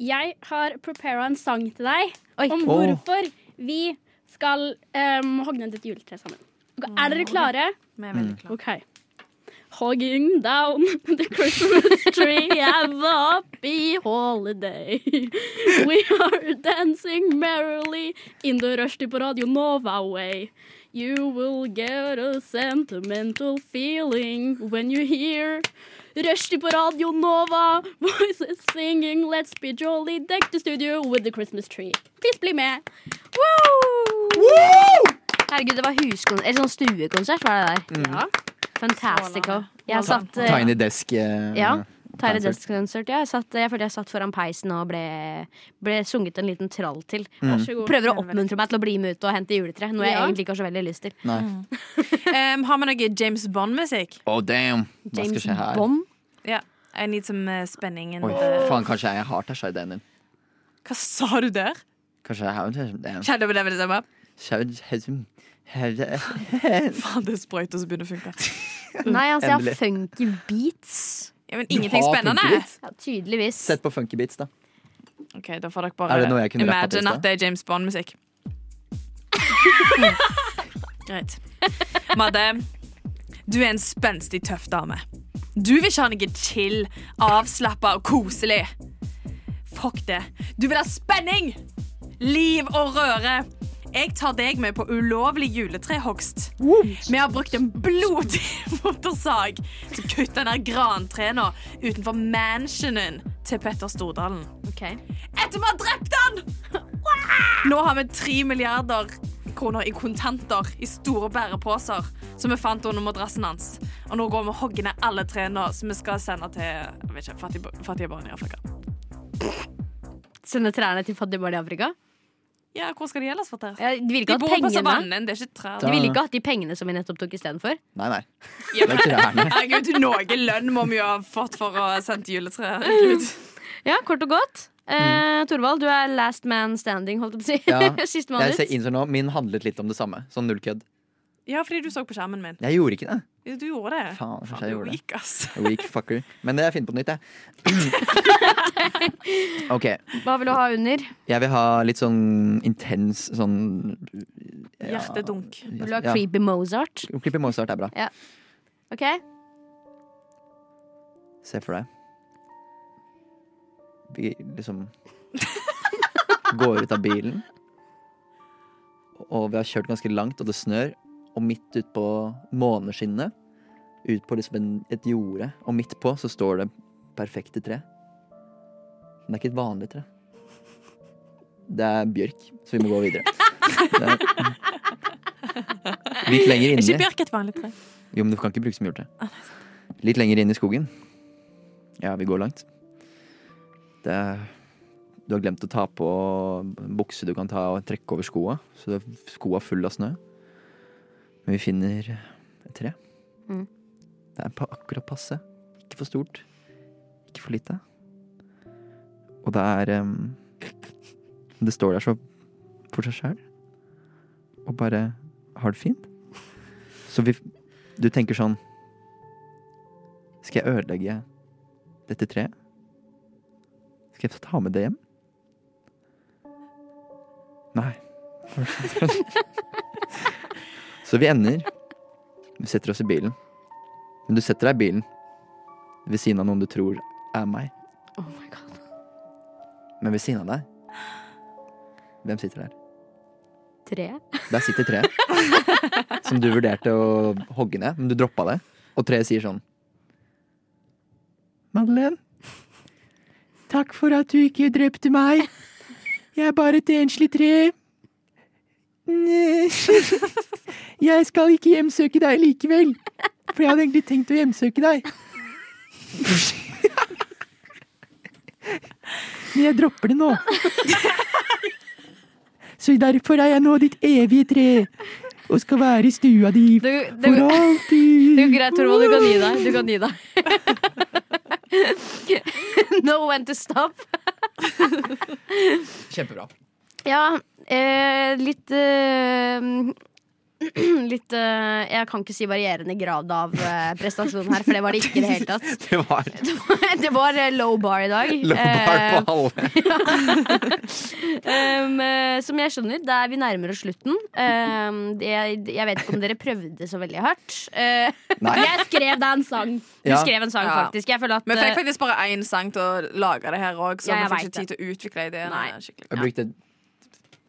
Jeg har prepara en sang til deg
Oi.
om hvorfor vi skal um, hogge ned et juletre sammen. Ok, Er dere klare?
Vi er veldig klare.
OK. Hogging down the Christmas tree and the happy holiday. We are dancing merrily in the rushtid på Radio Nova way. You will get a sentimental feeling when you hear Rushdie på Radio Nova. Voices singing Let's be jolly. Deck the studio with the Christmas tree. Please bli med.
Herregud, det var huskonsert. Eller sånn stuekonsert var det der.
Ja.
Fantastico.
Well
Jeg satt eh,
Mm. Tiny desk. eh,
ja, Tiny
Concert.
Desk-konsert. Ja, jeg, satt- jeg følte jeg satt foran peisen og ble, ble sunget en liten trall til.
Mm.
Vær så god.
Prøver å oppmuntre meg til å bli med ut og hente juletre, noe jeg
Ja.
egentlig ikke har så veldig lyst til.
Nei.
Em, har vi noe James Bond-musikk?
Oh, damn! Hva skal
James
skje her?
Bond.
Ja. I need some eh, spenning. in
Oi,
the-
faen, kanskje jeg har Tasha i den din.
Hva sa du der?
Kanskje jeg har Tasha i den.
Shadow of the Devil is over. Faen, det er sprøyt, og så begynner det å funke.
Mm.
Nei, altså, jeg
Endelig.
har funky beats.
Ja, men
Du
ingenting
har
spennende.
funkebeats?
Ja, tydeligvis.
Sett på funky beats, da.
Ok, Da får dere bare
Er det noe jeg kunne rappet på i
imagine
sted?
at det er James Bond-musikk. Greit. Madde, du er en spenstig, tøff dame. Du vil ikke ha noe chill, avslappa og koselig. Fuck det. Du vil ha spenning! Liv og røre. Jeg tar deg med på ulovlig juletrehogst. Vi har brukt en blodig motorsag til å kutte ned grantrærne utenfor mansionen til Petter Stordalen
Ok.
etter vi har drept han! Nå har vi tre milliarder kroner i kontanter i store bæreposer som vi fant under madrassen hans. Og nå går vi og hogger ned alle trærne som vi skal sende til jeg vet ikke, fattige, fattige barn i Afrika.
Sende trærne til fattige barn i Afrika?
Ja, hvor skal de ellers få trær?
Ja, de ville
De
ikke hatt
bor på
pengene.
savannen, det er ikke trær.
De ville ikke hatt de pengene som vi nettopp tok istedenfor.
Nei, nei.
Ja,
Det er trærne.
Herregud, noe lønn må vi jo ha fått for å ha sendt juletrær. Herregud.
Ja, kort og godt. Eh, Torvald, du er last man standing, holdt jeg på å
Mm. Ja.
si. Sistemann
Jeg ser,
ut.
innser nå, Min handlet litt om det samme. Sånn null kødd.
Ja, fordi du så på skjermen min.
Jeg gjorde ikke det.
Du gjorde det.
Faen, kanskje
du
jeg
er
gjorde det.
weak, ass.
Weak fucker. Men det er fint på nytt, jeg. OK.
Hva vil du ha under?
Jeg vil ha litt sånn intens sånn ja,
Hjertedunk.
Vil du ha
ja.
creepy Mozart?
Klippet Mozart er bra.
Ok,
Se for deg Vi liksom Går ut av bilen Og vi har kjørt ganske langt Og det snør Og midt ut på måneskinnet Ut på liksom en, et jorde Og midt på så står det perfekte tre Men det er ikke et vanlig tre Det er bjørk Så vi må gå videre Det er- Litt lenger
Er
inni
ikke bjørk et vanlig tre?
jo, men du kan ikke bruke så mye hjorte. Litt lenger inn i skogen. Ja, vi går langt. Det er Du har glemt å ta på bukse du kan ta og trekke over skoa, så det er skoa full av snø. Men vi finner et tre.
Mm.
Det er på akkurat passe. Ikke for stort, ikke for lite. Og det er em, Det står der så for seg sjæl, og bare har det fint. Så vi du tenker sånn Skal jeg ødelegge dette treet? Skal jeg ta med det hjem? Nei. Så vi ender Vi setter oss i bilen. Men du setter deg i bilen ved siden av noen du tror er meg.
Oh my god.
Men ved siden av deg Hvem sitter der?
Tre.
Der sitter treet. Som du vurderte å hogge ned, men du droppa det. Og treet sier sånn Madeleine, takk for at du ikke drepte meg. Jeg er bare et enslig tre. Nei. Jeg skal ikke hjemsøke deg likevel. For jeg hadde egentlig tenkt å hjemsøke deg. Men jeg dropper det nå. Så derfor er jeg nå ditt evige tre. Og skal være i stua di
Det, det, det
alltid.
går greit, Torvald. Du kan gi deg. Du kan gi deg. no when to stop.
Kjempebra.
Ja, eh, litt eh, Litt eh, Jeg kan ikke si varierende grad av eh, prestasjon her, for det var det ikke i det hele tatt.
Det var
Det var eh, low bar i dag.
low bar
Eh,
på halve.
Um, eh, som jeg skjønner, det er vi nærmer oss slutten. Um, jeg, jeg vet ikke om dere prøvde så veldig hardt. Eh,
Nei.
Jeg skrev deg en sang.
du
Ja.
skrev en sang,
Ja.
faktisk. Jeg føler at
Vi fikk
eh,
faktisk bare én sang til å lage det her òg, så
Ja, jeg
vi fikk
vet
ikke tid til å utvikle ideene.
Nei.
skikkelig.
Jeg brukte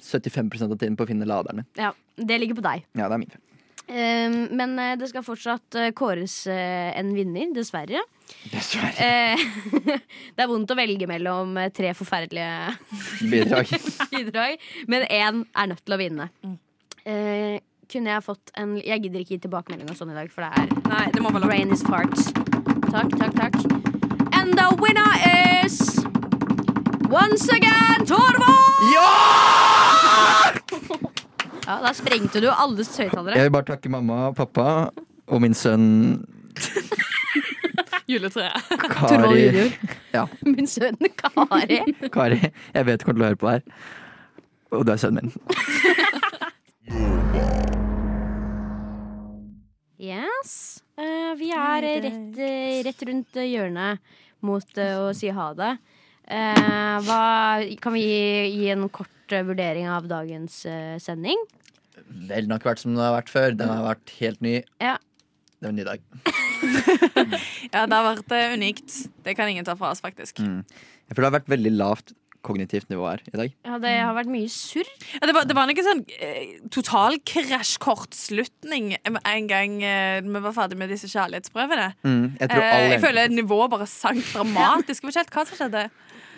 75 av tiden på å finne laderne.
ja, det ligger på deg.
Ja, det er min feil.
Um, men eh, det skal fortsatt eh, kåres eh, en vinner, dessverre.
Dessverre.
Eh, det er vondt å velge mellom eh, tre forferdelige
Bidrag.
bidrag, men én er nødt til å vinne.
Mm.
Eh, kunne jeg fått en Jeg gidder ikke gi tilbakemelding og sånn i dag, for det er
Nei, det må vel være
Brain is farts. Takk, takk, takk. And the winner is Once again, Torvald! Ja, da sprengte du alles høyttalere.
Jeg vil bare takke mamma og pappa og min sønn
juletreet.
Torvald
Kari.
junior.
Ja,
Min sønn Kari.
Kari. Jeg vet du kommer til å høre på det her. Og det er sønnen min.
Eh, rett, eh, rett rundt eh, hjørnet mot eh, å si ha det. Eh, hva, kan vi gi, gi en kort eh, vurdering av dagens eh, sending?
Vel nok vært som den har vært før. Den har vært helt ny.
Ja.
Det var en ny dag.
Ja, det har vært eh, unikt. Det kan ingen ta fra oss, faktisk.
Jeg føler det har vært veldig lavt kognitivt nivå her i dag.
Ja, det har vært mye surr.
Ja, det, var, det var ikke sånn eh, total krasjkortslutning en gang eh, vi var ferdig med disse kjærlighetsprøvene.
Jeg tror
Eh,
alle
jeg føler nivået bare sank dramatisk. Jeg vet ikke helt hva som skjedde.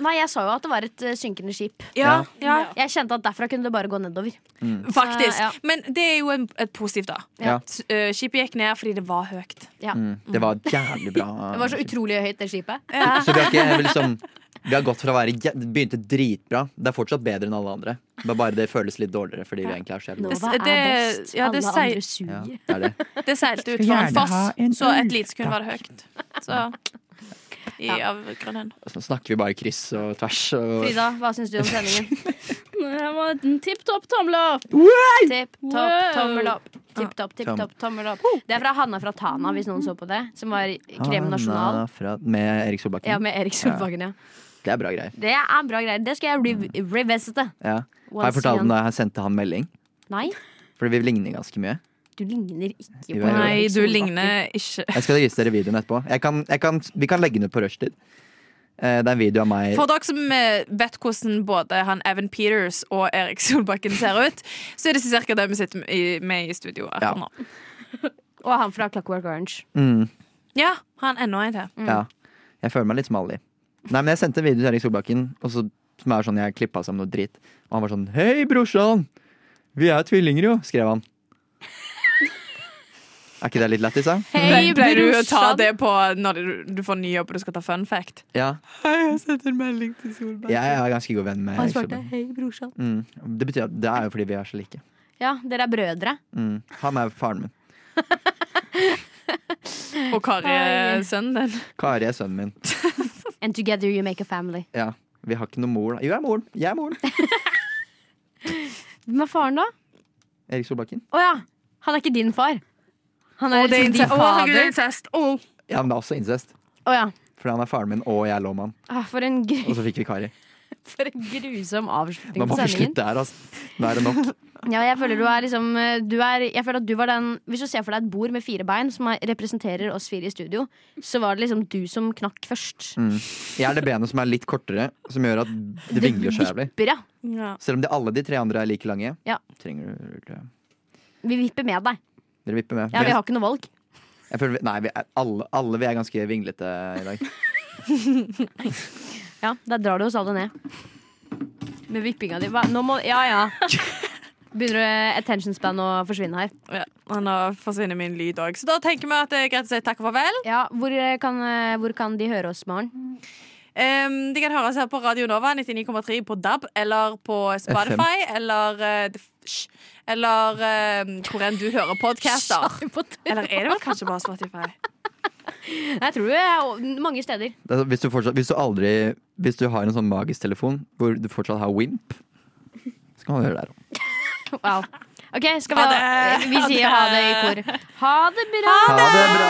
Nei, jeg sa jo at det var et eh, synkende skip.
Ja, ja,
Jeg kjente at derfra kunne det bare gå nedover.
Mm. faktisk.
Så, ja.
Men det er jo en, et positivt, da.
Ja.
S- eh, Skipet gikk ned fordi det var høyt.
Ja.
Mm, det var jævlig bra.
Det var så utrolig høyt, det skipet.
Så vi har ikke liksom Vi har gått fra å være jæ- Det begynte dritbra. Det er fortsatt bedre enn alle andre. Det er bare det føles litt dårligere fordi vi egentlig er så jævlig gode.
s-
Nova er
det-
best.
ja, det
Alle
sier-
andre
Ja,
suger.
det er det.
Det seilte ut
Skulle
for en
gjerne ha en
foss, så et
ulv,
lite skulle være høyt. Så i avgrunnen.
Så snakker vi bare kryss og tvers. Og
Frida, hva syns du om sendingen?
Det var en tipp topp tommel opp.
Tipp topp, tommel opp. Tipp topp, tipp
Tom.
topp, tommel opp. Det er fra Hanna fra Tana, hvis noen så på det. Som var Krem Nasjonal.
Anna Fra, med Erik Solbakken.
Ja, med Erik Solbakken, ja.
Det er bra greier.
Det er en bra greie. Det skal jeg rev revisite.
Ja.
Once
Har jeg fortalt
igjen.
om da jeg sendte han melding?
Nei,
Fordi vi ligner ganske mye.
du ligner ikke
Jo,
på
jeg
Nei,
Erik
du
Solbakken.
ligner ikke
Jeg skal vise dere videoen etterpå. Jeg kan, jeg kan, vi kan legge den ut på rushtid. Eh, Det er en video av meg
For dere som eh, vet hvordan både han Evan Peters og Erik Solbakken ser ut, så er det ca. det vi sitter med i, med i studio
Ja.
akkurat nå.
Og han fra Clockwork Orange.
mm,
Ja, han enda en
Mm.
til.
ja. Jeg føler meg litt smal i. Nei, men jeg sendte en video til Erik Solbakken, og så, som er sånn jeg klippa sammen noe drit. Og han var sånn Hei, brorsan! Vi er tvillinger, jo! skrev han. Er ikke det litt lættis, da?
Hei,
Pleier du å ta
brorsan.
det på når du, du får ny jobb og du skal ta fun fact?
Ja.
Hei, jeg sendte en melding til Solbakken.
Jeg er ganske god venn med
Han
Erik
svarte
Solbakken.
'hei, brorsan'.
Mm. Det betyr at det er jo fordi vi er så like.
Ja, dere er brødre.
Mm. Han er faren min.
Og Kari
Hei.
er sønnen din.
Kari er sønnen min.
And together you make a family.
Ja. Vi har ikke noe mor. da. Jo, jeg er moren. Jeg er moren.
Hvem er faren, da?
Erik Solbakken.
Å ja! Han er ikke din far. Han er
Og det er
liksom din
incest. Å, herregud, det
fader.
er incest. Å.
Ja, men det er også incest.
Å ja.
Fordi han er faren min, og jeg er lovmann.
Ah, For en, gru,
Og så fikk vi Kari.
for en grusom avslutning
Nå må
på
vi
sendingen.
slutte her, altså. Nå er det nok.
Ja, jeg føler du er liksom du er, Jeg føler at du var den Hvis du ser for deg et bord med fire bein som er, representerer oss fire i studio, så var det liksom du som knakk først.
Jeg er det benet som er litt kortere, som gjør at det vingler så jævlig.
Bra.
Ja.
Selv om de, alle de tre andre er like lange.
Ja.
Trenger du
Vi vipper med deg.
Dere vipper med.
Ja, Vi
Dere-
har ikke noe valg.
jeg føler, vi- nei, vi er, alle, alle vi er ganske vinglete i dag.
Ja, Der drar du oss alle ned. Med vippinga di. Hva? Nå må Ja ja. Begynner eh, attention span å forsvinne her.
Ja, og nå forsvinner min lyd òg. Så da tenker vi at det er greit å si takk og farvel.
Ja, Hvor eh, kan, eh, hvor kan de høre oss, Maren?
Ehm, de kan høre oss her på Radio Nova 99,3 på DAB eller på Spotify eller eh, det- hysj. Eller eh, hvor enn du hører podcaster. Eller er det vel kanskje bare Spotify?
Jeg tror det er o- mange steder.
Det er så- Hvis du, fortsatt, hvis du aldri Hvis du har en sånn magisk telefon hvor du fortsatt har Wimp, så kan man høre det her òg.
Wow. OK, skal vi
Ha
ha
det.
Vi sier ha det i kor. Ha det bra!
Ha det bra!